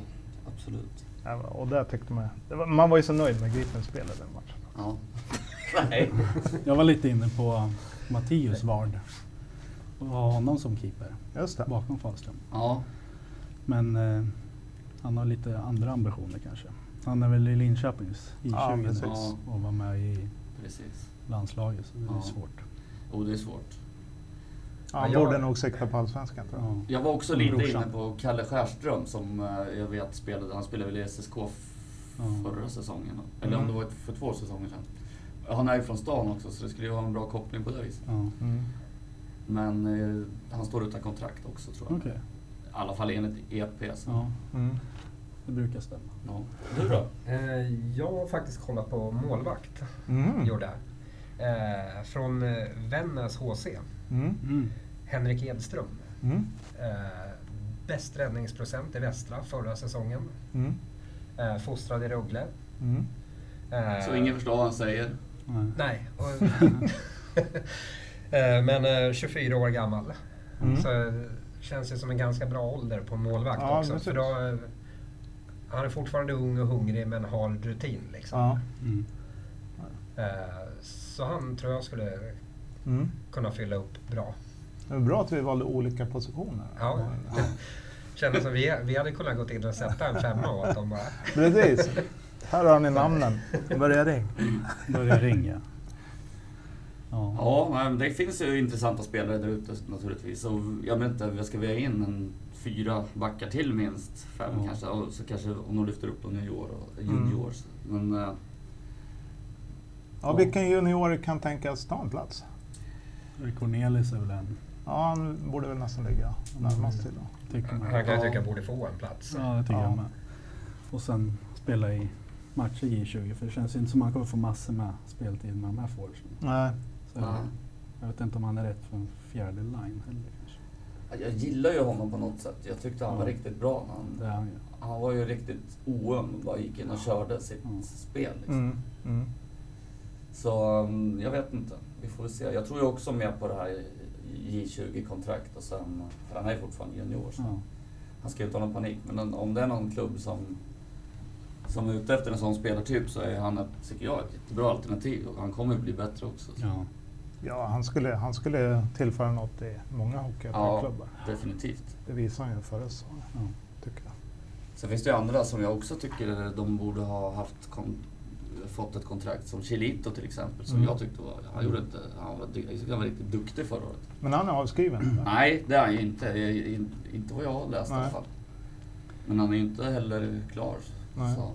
B: absolut.
D: Ja, Och där tyckte man, det var, man var ju så nöjd med Gripens spel i den matchen.
B: Ja. Nej.
C: Jag var lite inne på Mattias Ward. Och ha honom som keeper
D: Just det.
C: bakom Fahlström.
B: Ja.
C: Men eh, han har lite andra ambitioner kanske. Han är väl i Linköpings
D: Ja,
C: I20 nu
B: precis.
C: och var med i
B: Precis.
C: landslaget så det är
B: Ja.
C: svårt.
B: Och det är svårt.
D: Han
A: Ja, jag-
D: borde nog sikta på allsvenskan tror jag.
C: Ja.
B: Jag var också
C: Och
B: lite
C: brorsan.
B: inne på Kalle Skärström som eh, jag vet spelade, han spelade väl i SSK f-
C: Ja.
B: förra säsongen. Eller om
D: Mm.
B: det var för två säsonger sedan. Han är ju från stan också så det skulle ju ha en bra koppling på det viset.
C: Ja.
D: Mm.
B: Men eh, han står utan kontrakt också tror jag.
C: Okej,
B: I alla fall enligt EP. Så.
C: ja,
D: Mm.
C: det brukar stämma.
B: Ja. Du då?
A: Eh, Jag har faktiskt kollat på målvakt.
D: Mm.
A: Gjorde jag. Eh, Från eh, Vännäs HC.
D: Mm.
C: Mm.
A: Henrik Edström.
D: Mm.
A: Eh, Bäst räddningsprocent i västra förra säsongen.
D: Mm.
A: Eh, Fostrad i Rögle.
D: Mm.
A: Eh,
B: Så ingen förstår vad han säger.
C: Nej.
A: Nej. Och, Eh, Men eh, 24 år gammal.
D: Mm.
A: Så eh, känns det som en ganska bra ålder på en målvakt
D: Ja,
A: också.
D: precis.
A: För då, eh, han är fortfarande ung och hungrig men har rutin. Liksom.
D: Ja.
C: Mm.
A: Eh, Så han tror jag skulle
D: Mm.
A: kunna fylla upp bra.
D: Det var bra att vi valde olika positioner.
A: Ja.
B: Ja.
A: Kändes som vi, vi hade kunnat gå in och sätta en femma åt dem bara.
D: Precis. Här har ni namnen. Börja ring.
C: Börjar ringa. Ja.
B: Ja, men det finns ju intressanta spelare där ute naturligtvis. Och jag vet inte, jag ska vi ha in en fyra backar till minst? Fem
C: Ja. Mm.
B: kanske. Och så kanske om de lyfter upp dem junior och juniors. Men eh,
D: Ja, vilken junior kan tänkas ta en plats?
C: Cornelis är väl en,
D: Ja, han borde väl nästan ligga närmast till. Då.
C: tycker man.
A: Han kan jag tycka
D: Ja.
A: borde få en plats.
C: Ja, det tycker
D: Ja.
C: jag med. Och sen spela i matcher i 20 för det känns ju inte som att han kommer få massor med speltid med de här forwardsen.
D: Nej.
C: Så
B: Ja.
C: Jag vet inte om han är rätt för en fjärde line heller kanske.
B: jag gillar ju honom på något sätt. Jag tyckte han var
C: Ja.
B: riktigt bra. när Han,
C: Det är han ju.
B: han var ju riktigt oöm och bara gick in och körde sitt
C: Mm.
B: spel. Liksom.
D: Mm. Mm.
B: Så mm, jag vet inte. Vi får väl se. Jag tror ju också mer på det här J20-kontrakt och sen, för han är ju fortfarande junior. Så.
C: Ja.
B: Han ska ju inte ha någon panik, men om- om det är någon klubb som, som är ute efter en sån spelartyp så är han, ett, tycker jag, ett jättebra alternativ och han kommer ju bli bättre också. Så.
C: Ja.
D: Ja, han skulle, han skulle tillföra något i många hockeyklubbar.
B: Definitivt.
D: Det visar han ju förra säsongen,
C: Ja.
D: tycker jag.
B: Sen finns det ju andra som jag också tycker de borde ha haft kon- fått ett kontrakt som Chilito till exempel som
D: Mm.
B: jag tyckte var, han gjorde inte, han var, jag tyckte han var riktigt duktig förra året.
D: Men han är avskriven. va?
B: Nej, det är han ju inte. Jag- in- Inte vad jag har läst i alla
D: Nej.
B: fall. Men han är ju inte heller klar.
D: Nej.
B: Så,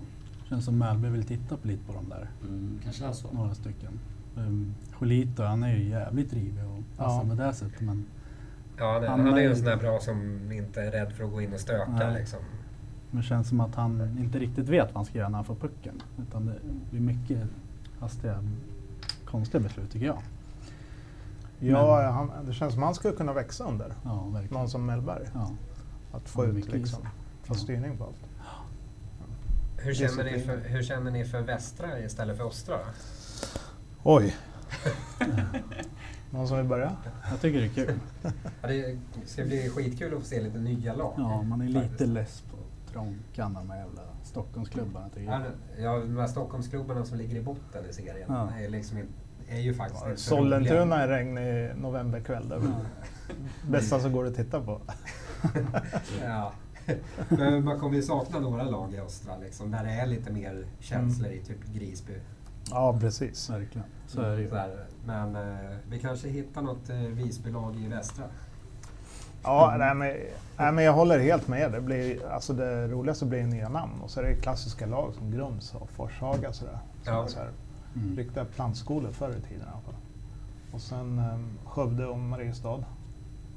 C: Känns som Mälby vill titta på lite på de där,
B: mm, kanske är så.
C: några stycken. Um, Jolito, han är ju jävligt rivig och passar
D: Ja.
C: med det sättet men
A: Ja, han, är-
C: Han
A: han är
C: är-
A: ju en sån där bra som inte är rädd för att gå in och stöka.
C: Nej.
A: Liksom.
C: det känns som att han inte riktigt vet vad han ska göra när han får pucken. Utan det blir mycket hastiga, konstiga beslut tycker jag.
D: Ja, han, det känns som han skulle kunna växa under.
C: Ja, verkligen.
D: Någon som Mellberg.
C: Ja.
D: Att få
C: Ja,
D: ut
C: mycket
D: liksom,
C: Ja.
D: få styrning på allt.
A: Hur, känner ni
D: Disciplin.
A: för, hur känner ni för västra istället för östra?
D: Oj. Någon som vill börja?
C: Jag tycker det är kul.
A: Ja, det ska bli skitkul att få se lite nya lag.
C: Ja, man är lite
A: faktiskt.
C: less på trånkan de här jävla Stockholmsklubbarna tycker
A: Ja,
C: jag.
A: men- Ja, de här Stockholmsklubbarna som ligger i botten i serien
C: Ja.
A: är liksom in- är ju faktiskt inte så
D: Sollentuna
A: roliga.
D: en regnig novemberkväll. Det är väl bästa som går att titta på.
A: Ja. Men man kommer ju sakna några lag i östra liksom, där det är lite mer känslor
C: Mm.
A: i typ Grisby.
D: Ja, precis.
C: Verkligen. Så är det ju.
A: Mm. Så här, Men eh, vi kanske hittar något eh, Visbylag i västra.
D: Ja, nej, men, nej, men jag håller helt med. Det, blir, alltså det roligaste blir nya namn och så är det klassiska lag som Grums och Forshaga. Sådär. Som
A: Ja.
D: är så här,
C: Mm.
D: riktiga plantskolor förr i tiden i alla fall. Och sen um, Skövde och Mariestad.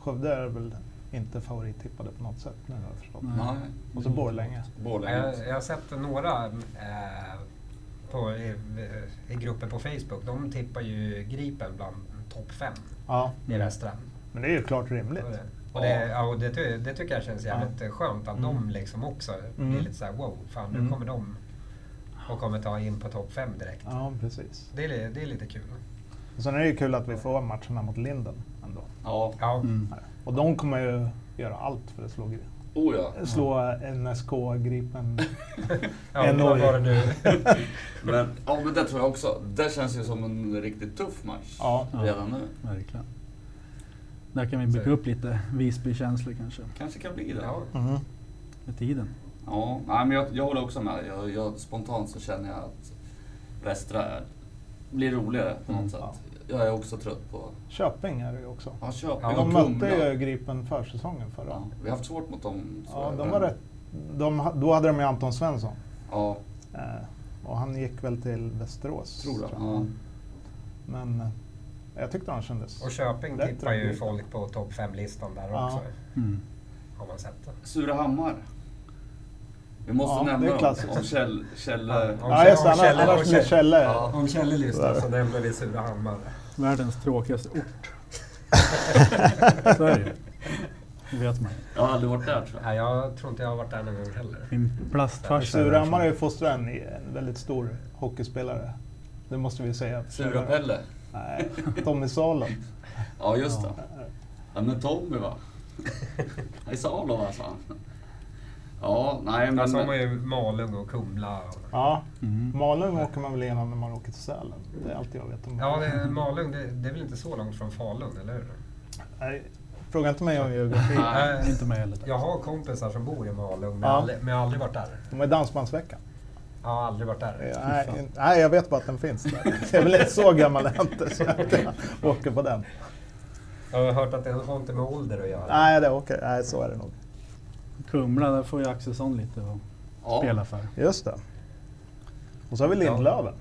D: Skövde är väl inte favorittippade på något sätt nu har jag förstått.
C: Nej.
B: Nej,
D: Och så Borlänge.
B: Borlänge.
A: Jag, jag har sett några eh, på, i, i grupper på Facebook. De tippar ju Gripen bland topp fem
D: Ja,
A: i västra.
D: men det är ju klart rimligt.
A: Och, det, ja, och det, ty- det tycker jag känns jävligt eh, skönt att de
D: Mm.
A: liksom också blir
D: Mm.
A: lite såhär wow, fan nu
D: Mm.
A: kommer de och kommer ta in på topp fem direkt.
D: Ja, precis.
A: Det är, li- det är lite kul.
D: Och sen är det ju kul att vi får matcherna mot Linden ändå.
B: Ja,
A: Ja,
C: Mm.
D: Och de kommer ju göra allt för att slå, Gri-
B: oh ja.
D: slå NSK Gripen.
A: ja vad
D: Norge.
A: var det nu?
B: Men, ja, men det tror jag också. Det känns ju som en riktigt tuff match
D: Ja.
B: redan nu.
C: Verkligen. Där kan vi bygga upp lite Visby-känslor kanske
B: Kanske kan bli det.
A: Ja.
D: Mhm.
C: med tiden.
B: Ja, nej, men jag, jag håller också med. Jag, jag, spontant så känner jag att västra är, blir roligare på något
C: Mm,
B: sätt.
D: ja.
B: Jag är också trött på
D: Köping är det ju också.
B: ja, Köping
A: Ja,
B: och
D: De mötte
B: Kumla.
D: ju Gripen försäsongen förra
B: Ja, vi har haft svårt mot dem. så
D: Ja,
B: är
D: de
B: det.
D: var rätt. De, ha- då hade de ju Anton Svensson.
B: Ja,
D: Eh, och han gick väl till Västerås.
B: tror jag. Ja.
D: Men eh, jag tyckte han kändes...
A: Och Köping
D: Bättre
A: tippar ju
D: än
A: folk på topp fem listan där
D: Ja.
A: också.
C: Mm.
A: Har man sett det.
B: Surahammar. Vi måste
D: Ja, det är
B: nämna dem.
D: klassiskt.
B: Om Kjell... Kjell
A: Ja,
D: Ja, just det.
A: Om Kjell-
D: Annars,
A: om
D: annars blir
A: Kjell-
D: Kjelle...
B: Ja.
A: Om Kjelle lyssnar
D: Där.
A: så nämner vi Surahammar.
C: Världens tråkigaste ort. Så är det ju. Det vet man.
B: Jag har aldrig varit där tror jag.
A: Nej, jag tror inte jag har varit där någon gång heller.
C: Min plastfarsa.
D: Surahammar har ju fostrat en, en väldigt stor hockeyspelare. Det måste vi säga.
B: Sura-Pelle.
D: Nej, Tommy Salo.
B: Ja, just det. Ja, men Tommy va? I Salo va, sa han. Ja, nej men...
A: Alltså de har ju Malung och Kumla. Och...
D: Ja,
C: Mm.
D: Malung åker man väl igenom när man åker till Sälen. Det är allt jag vet om
A: Ja, det, Malung, det, det är väl inte så långt från Falun, eller hur?
D: Nej, Fråga inte mig om geografi.
B: Nej.
A: Eh,
C: Inte mig heller.
A: Jag har kompisar som bor i Malung, men,
D: Ja.
A: aldrig, men jag har aldrig varit där.
D: De är Dansbandsveckan.
A: Jag har aldrig varit där.
D: Nej, inte- nej, jag vet bara att den finns där. Jag är väl inte så gammal jag inte så att jag åker på den.
A: Jag har hört att det har inte med ålder att göra.
D: Nej, det åker, nej så är det nog.
C: Kumla, där får ju Axelsson lite att
B: ja,
C: spela för.
D: Just det. Och så har vi Lindlöven.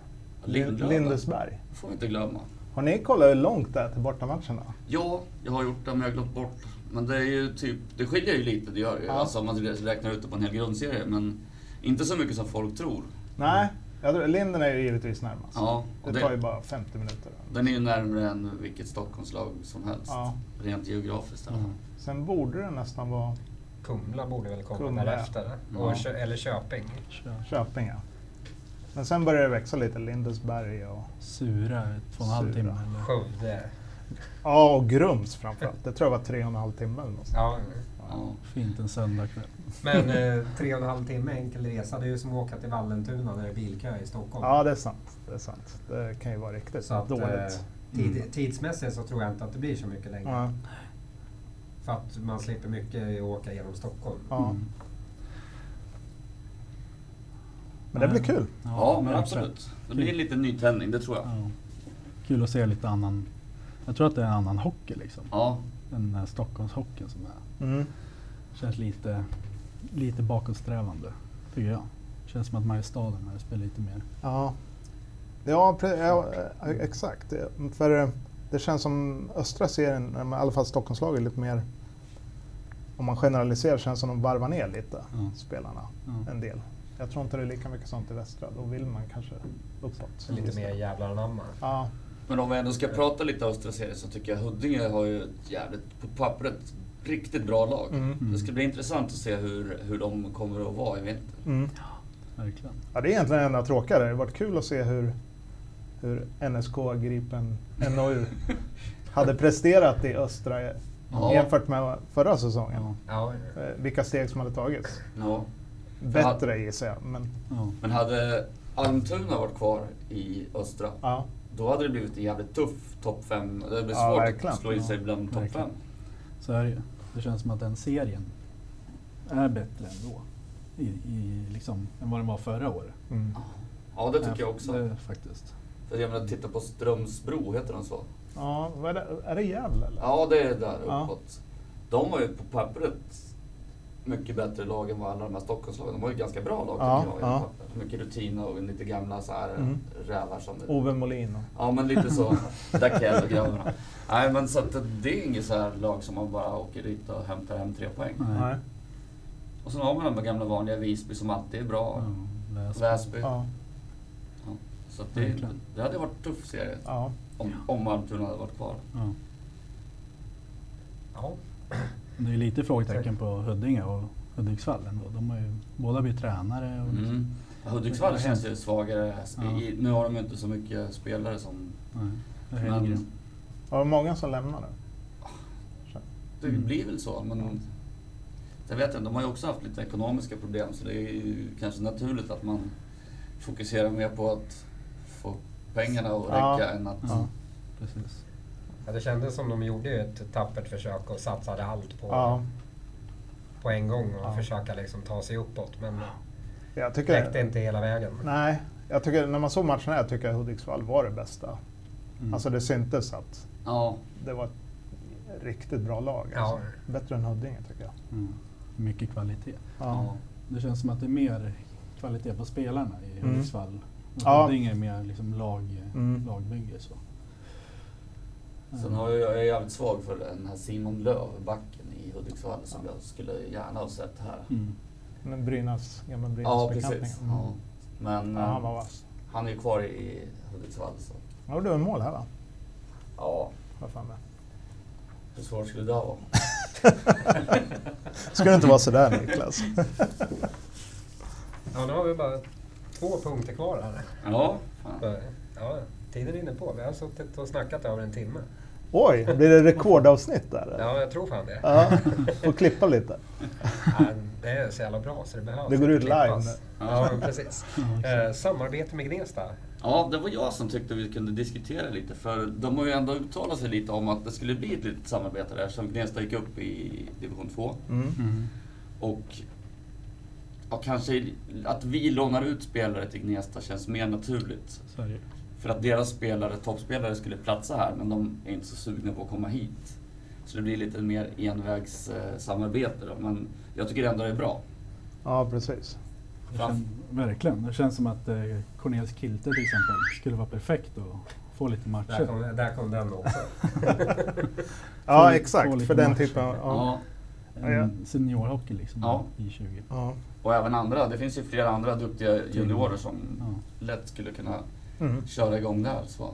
B: Lindlöven.
D: Lindesberg.
B: det får vi inte glömma.
D: Har ni kollat hur långt det är till bortamatcherna?
B: Ja, jag har gjort det men jag har glömt bort. Men det är ju typ, det skiljer ju lite, det gör det ju.
D: Ja.
B: Alltså om man räknar ut det på en hel grundserie. Men inte så mycket som folk tror.
D: Nej, jag tror, Linden är ju givetvis närmast.
B: Ja, och
D: Det tar ju
B: det,
D: bara 50 minuter.
B: den är ju närmare än vilket Stockholmslag som helst.
D: Ja.
B: Rent geografiskt i alla fall.
D: Sen borde det nästan vara
A: Kumla borde väl komma
D: Kumla,
A: därefter.
B: ja.
A: Och
B: Ja.
A: Kö, eller Köping.
C: Kör.
D: Köping. Ja. Men sen börjar det växa lite, Lindesberg och...
C: Sura, är två och en halv
D: Sura.
C: timme. Eller?
A: Skövde.
D: Ja, och Grums framförallt. Det tror jag var tre och en halv timme eller något sånt.
A: Ja.
B: Ja.
C: Fint en söndagkväll.
A: Men eh, tre och en halv timme enkel resa, det är ju som att åka till Vallentuna när det är bilkö i Stockholm.
D: Ja, det är sant. Det är sant. Det kan ju vara riktigt
A: Så att, eh,
D: dåligt. Mm.
A: Tid, tidsmässigt så tror jag inte att det blir så mycket längre.
D: Ja,
A: För att man slipper mycket åka genom Stockholm.
D: ja.
C: Mm.
D: Men det blir kul.
B: ja, men
C: verkligen.
B: absolut. Det blir lite nytändning, det tror jag.
C: Ja. Kul att se lite annan. Jag tror att det är en annan hockey liksom.
B: Ja,
C: Den här Stockholmshockeyn som är.
D: Mm.
C: Känns lite, lite bakåtsträvande, tycker jag. Känns som att Mariestaden här spelar lite mer.
D: Ja, ja, pre- ja eh, exakt. För eh, det känns som östra serien, eh, men i alla fall Stockholmslaget, är lite mer om man generaliserar känns som de varvar ner lite,
C: Ja.
D: spelarna,
C: Ja.
D: en del. Jag tror inte det är lika mycket sånt i västra, då vill man kanske uppåt.
A: Lite mer jävlar anamma.
D: Ja,
B: Men om vi ändå ska prata lite östra serien så tycker jag Huddinge har ju ett jävligt, på pappret, riktigt bra lag.
D: mm.
B: Det ska bli intressant att se hur, hur de kommer att vara i vinter.
D: Mm.
C: Verkligen.
D: ja det är egentligen det enda tråkiga. där. Det har varit kul att se hur, hur NSK Gripen NOU hade presterat i östra eh,
B: Ja.
D: jämfört med förra säsongen.
C: Ja.
A: Ja,
D: Eh, Vilka steg som hade tagits.
B: Ja.
D: Bättre gissar jag, men
C: Ja.
B: Men hade Almtuna varit kvar i östra,
D: ja.
B: Då hade det blivit en jävligt tuff topp 5. Det hade blivit
D: Ja,
B: svårt
D: verkligen.
B: att slå in sig bland topp
C: verkligen.
B: 5.
C: Så är det ju. Det känns som att den serien är bättre ändå. I, i, liksom, än vad den var förra året.
D: Mm.
B: Ja, det tycker
C: Äh,
B: jag också.
C: Det, faktiskt.
B: För jag menar, titta på Strömsbro, heter den så?
D: Ja, vad är det, är det Gävle eller?
B: Ja, det är där
D: Ja.
B: uppåt. De var ju på pappret mycket bättre lag än vad alla de här Stockholmslagen. De var ju ganska bra lag
D: Ja,
B: tycker jag.
D: ja.
B: i pappret. Mycket rutin och lite gamla så här
D: Mm.
B: rävar som...
D: Ove Molin. och-
B: Ja, men lite så. Dakell och grabbarna. Nej, men så att det är inget så här lag som man bara åker dit och hämtar hem tre poäng.
D: Nej.
B: Och sen har man de här gamla vanliga Visby som alltid är bra.
C: Ja, läs.
B: Väsby.
D: Ja,
B: Så att det,
C: Verkligen.
B: det hade varit en tuff serie
D: ja.
B: om, om Almtuna hade varit kvar.
C: Ja.
A: Ja,
C: Det är ju lite frågetecken på Huddinge och Hudiksvall ändå. De har ju båda blivit tränare. Och liksom,
B: Mm. Hudiksvall känns ju svagare.
C: Ja.
B: I, nu har de ju inte så mycket spelare som...
C: nej, det är
B: Men
C: Hellgren.
D: Det var många som lämnade.
B: det
C: Mm.
B: blir väl så. Men jag vet inte, de har ju också haft lite ekonomiska problem så det är ju kanske naturligt att man fokuserar mer på att få pengarna att
D: Ja.
B: räcka än att...
C: Ja, precis.
A: Ja, det kändes som de gjorde ju ett tappert försök och satsade allt på,
D: Ja,
A: på en gång och
D: Ja.
A: försöka liksom ta sig uppåt. Men
D: jag
A: det räckte
D: tycker...
A: inte hela vägen.
D: Nej, jag tycker när man såg matchen här tycker jag Hudiksvall var det bästa.
C: Mm.
D: Alltså det syntes att
B: Ja,
D: det var ett riktigt bra lag.
A: Ja.
D: Alltså. Bättre än Huddinge tycker jag.
C: Mm. Mycket kvalitet.
D: Ja.
C: Det känns som att det är mer kvalitet på spelarna i
D: Mm.
C: Hudiksvall. Och
D: Ja.
C: Huddinge är mer liksom lag,
D: Mm.
C: lagbygge. Så.
B: Sen har jag, jag är jävligt svag för den här Simon Löv, backen i Hudiksvall, som jag skulle gärna ha sett här.
C: Mm.
D: Men Brynäs, gamla
B: Ja,
D: Brynäs-bekantingen.
B: precis.
D: Mm.
B: Ja. Men
D: Ja, han
B: eh,
D: var vass.
B: han är ju kvar i Hudiksvall så...
D: Han gjorde en mål här va?
B: Ja,
D: Vad fan det?
B: hur svårt skulle det vara?
D: Ska det inte vara sådär Niklas?
A: Ja, nu har vi bara två punkter kvar här.
B: Ja, fan.
A: Så, Ja, tiden rinner på. Vi har suttit och snackat över en timme.
D: Oj, blir det rekordavsnitt där? eller?
A: Ja, jag tror fan det.
D: Ja, får klippa lite.
A: Nej, Det är så jävla bra så det behövs.
D: Det går
A: inte
D: ut live
A: klippas. Ja, men precis. Eh, Samarbete med Gnesta.
B: Ja, det var jag som tyckte vi kunde diskutera lite, för de har ju ändå uttalat sig lite om att det skulle bli ett litet samarbete där, eftersom Gnesta gick upp i division 2.
D: Mm.
C: Mm.
B: Och ja, kanske att vi lånar ut spelare till Gnesta känns mer naturligt.
C: Så är det ju.
B: För att deras spelare, toppspelare skulle platsa här, men de är inte så sugna på att komma hit. Så det blir lite mer envägssamarbete då, men jag tycker ändå det är bra.
D: Ja, precis.
C: Det
B: Fram-
C: kän, verkligen. Det känns som att eh, Cornelius Kilte till exempel skulle vara perfekt att få lite
A: Där
C: matcher.
A: kom, där kom den också.
D: Ja,
C: Få- få
D: exakt.
C: lite
D: För den
C: match.
D: typen av... Ja.
B: Ja,
D: Ja.
C: En seniorhockey liksom
B: Ja.
C: i 20.
D: Ja.
B: och även andra. Det finns ju flera andra duktiga juniorer som
C: Ja.
B: lätt skulle kunna
D: Mm.
B: köra igång där. Så.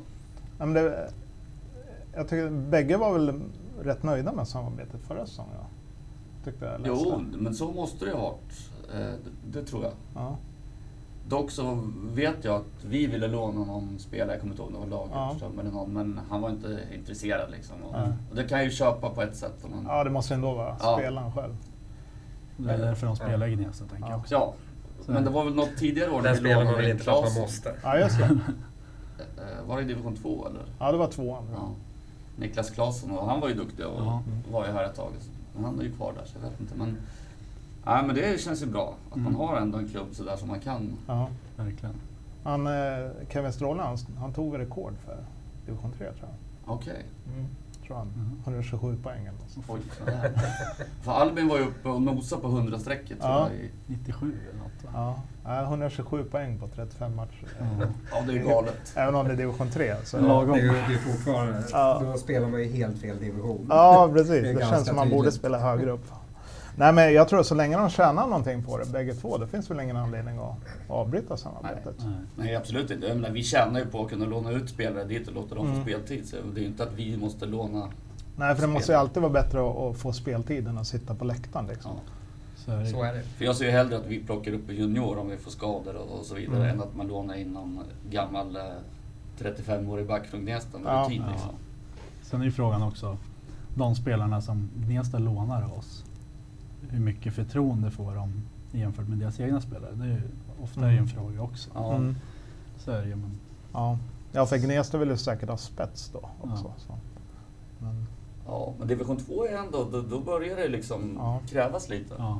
D: Ja, men det, jag tycker bägge var väl rätt nöjda med samarbetet förra säsongen? va? Tyckte jag läste.
B: Jo, men så måste det ha varit. Eh, det- Det tror jag.
D: Ja.
B: Dock så vet jag att vi ville låna någon spelare, jag kommer inte ihåg, det var Lagerström eller någon, men han var inte intresserad liksom. Och,
D: Nej.
B: och det kan jag ju köpa på ett sätt. Om man, ja.
D: ja, det måste ändå vara
B: Ja.
D: spelaren själv.
C: Det är därför de spelar i Gnesta tänker jag
D: Ja.
C: också.
B: Men det var väl något tidigare år
A: Där
B: när vi
A: spelar man
B: lånade
A: väl
B: in
A: inte för att man
B: Claesson.
A: måste.
D: Ja, just det.
B: Eh, Var det i division 2 eller?
D: Ja, det var tvåan.
B: Ja. Niklas Claesson, och han var ju duktig och
C: Ja.
B: var ju här ett tag. Men han är ju kvar där så jag vet inte. Men, nej, men det känns ju bra att man
C: Mm.
B: har ändå en klubb sådär som man kan.
D: Ja.
C: Verkligen.
D: Han, eh, Kevin Stråhle, han, han tog väl rekord för division 3 tror jag.
B: Okej.
D: Tror han.
C: Mhm.
D: 127 poäng eller något sånt.
B: Oj, sådär. För Albin var ju uppe och nosade på 100-strecket tror
D: Ja.
B: jag. i-
C: 97 eller något va?
D: Ja, Ja, 127 poäng på 35 matcher.
C: Ja.
B: Ja, det är galet.
D: Även om det är division 3. Så.
C: Ja. Lagom.
A: Det är ju det är ju fortfarande...
D: Ja.
A: Då spelar man ju helt fel division.
D: Ja, precis.
A: Det är
D: Det,
A: ganska
D: känns som man borde
A: tydligt.
D: spela högre upp. Nej, men jag tror så länge de tjänar någonting på det, bägge två, det finns väl ingen anledning att avbryta samarbetet.
C: Nej.
B: Nej, absolut inte. Jag menar, vi tjänar ju på att kunna låna ut spelare dit och låta dem få
D: Mm.
B: speltid. Så det är ju inte att vi måste låna.
D: Nej, för det måste ju alltid vara bättre att, att få speltid än att sitta på läktaren. Liksom.
B: Ja.
C: Så är det.
A: Så
C: ju.
A: är det.
B: För jag ser ju hellre att vi plockar upp en junior om vi får skador och, och så vidare
D: Mm.
B: än att man lånar in någon gammal eh, 35-årig back från Gnesta med
D: Ja.
B: rutin.
C: Ja.
B: Liksom.
C: Sen är ju frågan också, de spelarna som Gnesta lånar av oss, hur mycket förtroende får de jämfört med deras egna spelare? Det är ju ofta är ju en
D: Mm.
C: fråga också.
B: Ja.
D: Mm.
C: Så är det ju. Men
D: Ja. Ja, för Gnesta vill ju säkert ha spets då också.
C: Ja.
D: Så. Men,
B: Ja, men division 2 är ändå, då, då börjar det liksom
D: Ja.
B: krävas lite.
C: Ja.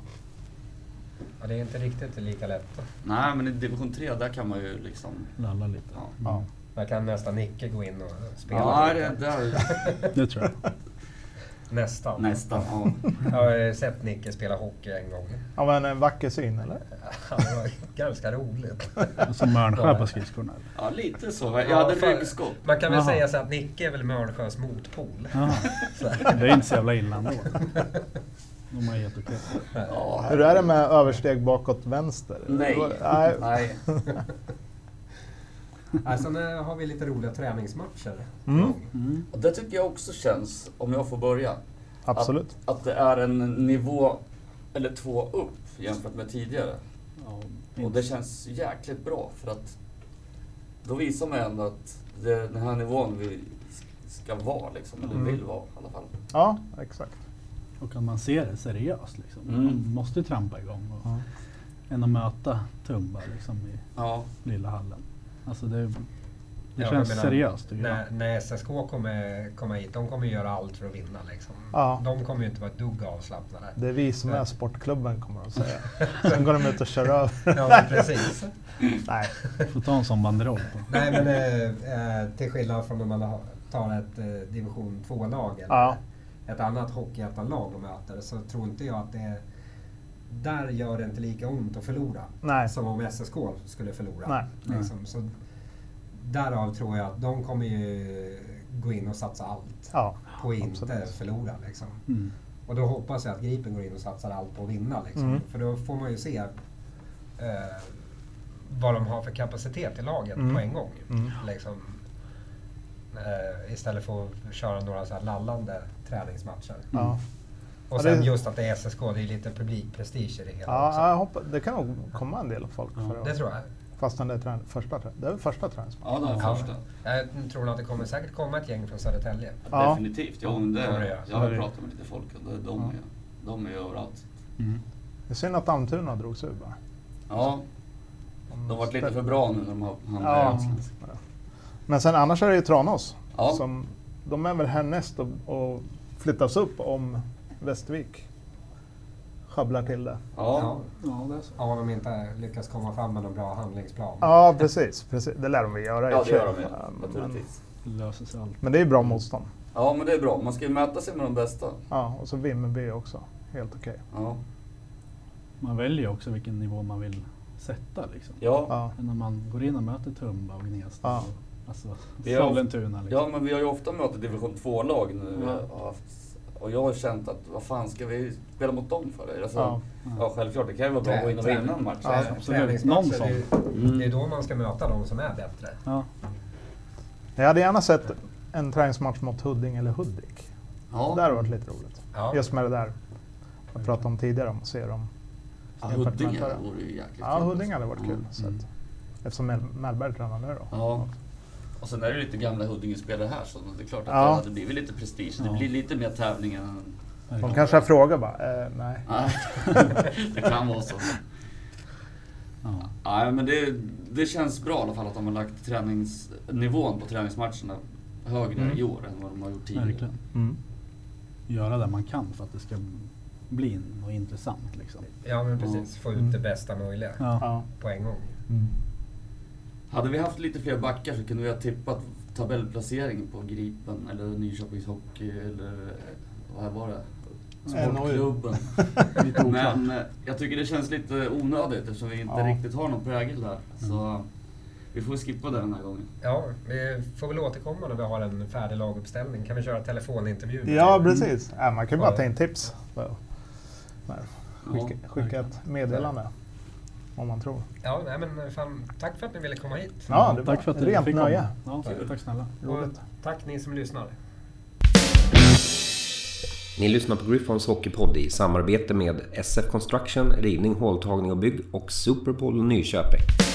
A: Ja, det är inte riktigt lika lätt.
B: Nej, men i division 3 där kan man ju liksom...
C: Lalla lite.
B: Ja,
D: ja.
A: Där kan nästan Nicke gå in och spela.
B: ja
A: lite.
B: det, där,
C: Det tror jag.
A: Nästan.
B: nästan. Ja.
A: Jag har ju sett Nicke spela hockey en gång.
D: ja, men en vacker syn eller?
A: Ja, Det var ganska roligt.
C: Som Mörnsjö på skridskorna. eller?
B: ja, lite så. Jag hade
A: för-
B: ryggskott.
A: Man kan väl
C: Jaha.
A: säga så att Nicke är väl Mörnsjös motpol.
C: Ja. Det är inte så jävla illa ändå. De har gett okej.
B: Ja,
D: Hur är det med översteg bakåt vänster?
B: Nej.
D: Nej.
B: Nej.
A: Ja, sen eh, har vi lite roliga träningsmatcher.
D: Mm.
C: Mm.
B: Och det tycker jag också känns, om jag får börja,
D: Absolut.
B: att det är en nivå eller två upp jämfört med tidigare.
C: Ja,
B: Och det känns jäkligt bra för att då visar man ändå att det är den här nivån vi ska vara liksom, eller
D: Mm.
B: vill vara i alla fall.
D: Ja, exakt.
C: Och att man ser det seriöst. Liksom.
B: Mm.
C: Man måste ju trampa igång. Och,
D: Ja.
C: Än att möta Tumba liksom, i
B: Ja,
C: lilla hallen. Alltså det, det
A: Ja,
C: känns
A: jag menar,
C: seriöst tycker jag.
A: När, när SSK kommer komma hit, de kommer göra allt för att vinna. Liksom.
D: Ja.
A: De kommer ju inte vara ett dugg avslappnade.
D: Det är vi som är sportklubben kommer de säga. Sen går de ut och kör över.
A: Ja, men precis.
D: Nej.
C: Får ta en sån banderoll på.
A: Nej, men eh, eh, till skillnad från om man har- tar ett eh, division 2-lag eller
D: Ja.
A: ett annat hockeyettan-lag och möter så tror inte jag att det är... Där gör det inte lika ont att förlora
D: Nej.
A: som om SSK skulle förlora.
D: Nej.
A: Liksom. Så därav tror jag att de kommer ju gå in och satsa allt
D: Ja.
A: på att inte
D: absolut.
A: förlora. Liksom.
C: Mm.
A: Och då hoppas jag att Gripen går in och satsar allt på att vinna. Liksom.
D: Mm.
A: För då får man ju se eh, vad de har för kapacitet i laget
D: Mm.
A: på en gång.
D: Mm.
A: Liksom, eh, istället för att köra några så här lallande träningsmatcher.
B: Mm.
D: Ja.
A: Och
D: Ja,
A: sen
D: det-
A: just att det är SSK, det är lite publikprestige i det hela
D: Ja,
A: också.
D: jag hoppas, det kan nog komma en del folk
C: Ja.
D: för
A: Det
D: att,
A: tror jag.
D: fastän det är trän- första, trä- det är väl första träningsmatchen.
B: ja den
A: Ja.
B: första.
A: Jag tror nog att det kommer säkert komma ett gäng från Södertälje.
D: Ja.
B: Definitivt. Ja, men
A: Ja, det
B: det,
A: gör.
B: jag har
D: Ja, det-
B: pratat med lite folk och det, de, är, de är överallt.
C: Mm.
D: Det är synd att Almtuna drogs ur bara.
B: Ja, de har varit lite för bra nu när de har hamnat i
D: Ja.
B: Allsvenskan.
D: Men sen annars är det ju Tranås.
B: Ja.
D: Som, de är väl härnäst och, och flyttas upp om Västervik sjabblar till det.
B: Mm. Ja.
C: Ja, det är så.
A: Ja, om de inte lyckas komma fram med någon bra handlingsplan.
D: Ja, precis. precis. Det lär de väl göra i
B: ja,
D: och
B: det
D: för sig.
B: gör de ju.
D: men,
B: Naturligtvis.
C: Det löser sig allt.
D: men det är ju bra motstånd.
B: Ja, men det är bra. Man ska ju mäta sig med de bästa.
D: Ja, och så Vimmerby också. Helt okej.
B: Ja.
C: Man väljer ju också vilken nivå man vill sätta. Liksom.
B: Ja.
D: Ja.
C: Men När man går in och möter Tumba och Gnesta.
D: Ja.
C: Och, alltså
B: Det är-
C: Sollentuna liksom.
B: ja, men vi har ju ofta mött division 2-lag nu.
C: Ja.
B: Jag har haft- Och jag har känt att vad fan ska vi spela mot dem för? Alltså,
D: Ja.
B: ja. självklart. Det kan ju vara bra att gå in och vinna en match.
D: Ja.
B: liksom.
C: absolut. Någon
A: Träningsmatcher,
C: sån.
A: det, är- det
D: Mm.
A: är då man ska möta de som är bättre.
C: Ja.
D: Jag hade gärna sett en träningsmatch mot Huddinge eller Hudik.
B: Ja.
D: Det hade varit lite roligt.
A: Ja.
D: Just med det där jag pratade om tidigare, om att se dem.
B: Ja,
D: jämfört med
B: Huddinge
D: Mölndal.
B: vore ju jäkligt
D: Ja,
B: kul.
D: Huddinge hade varit kul.
B: Mm.
D: Så att, eftersom Mel- Mellberg tränar nu då.
B: Ja. Och sen är det lite gamla Huddinge-spelare här, så det är klart att
D: Ja.
B: det, det blir väl lite prestige. Det
C: Ja.
B: blir lite mer tävling än...
D: De
C: verkligen.
D: kanske har frågat bara, eh, nej.
B: Nej, det kan vara så.
C: Ja.
B: Nej, men det, det känns bra i alla fall att de har lagt träningsnivån på träningsmatcherna högre
D: Mm.
B: i år än vad de har gjort tidigare.
C: Verkligen.
D: Mm.
C: Göra det man kan för att det ska bli något intressant. Liksom.
A: Ja, men precis. Få
D: Mm.
A: ut det bästa möjliga
C: Ja.
D: Ja.
A: på en gång.
B: Hade vi haft lite fler backar så kunde vi ha tippat tabellplacering på Gripen eller Nyköpings Hockey eller eh, vad var det?
D: Mm.
B: Sportklubben.
C: Lite oklart.
B: Men eh, jag tycker det känns lite onödigt eftersom vi inte
D: Ja.
B: riktigt har någon prägel där. Så vi får skippa det den här gången.
A: Ja, vi får väl återkomma när vi har en färdig laguppställning. Kan vi köra telefonintervju? med
D: Ja,
A: er?
D: precis. Ja, man kan ju bara ta in tips. Så. Nej,
B: Ja.
D: Skicka, skicka ett meddelande. Om man tror.
A: Ja, nej, men fan, tack för att ni ville komma hit.
D: Ja, det
C: tack
D: var
C: för att du
D: rent
C: fick
D: nöje.
C: komma. Ja, tack snälla.
A: Och
D: Roligt.
A: tack ni som lyssnar.
E: Ni lyssnar på Griffons Hockeypodd i samarbete med SF Construction, Rivning, Håltagning och Bygg och Superbowl Nyköping.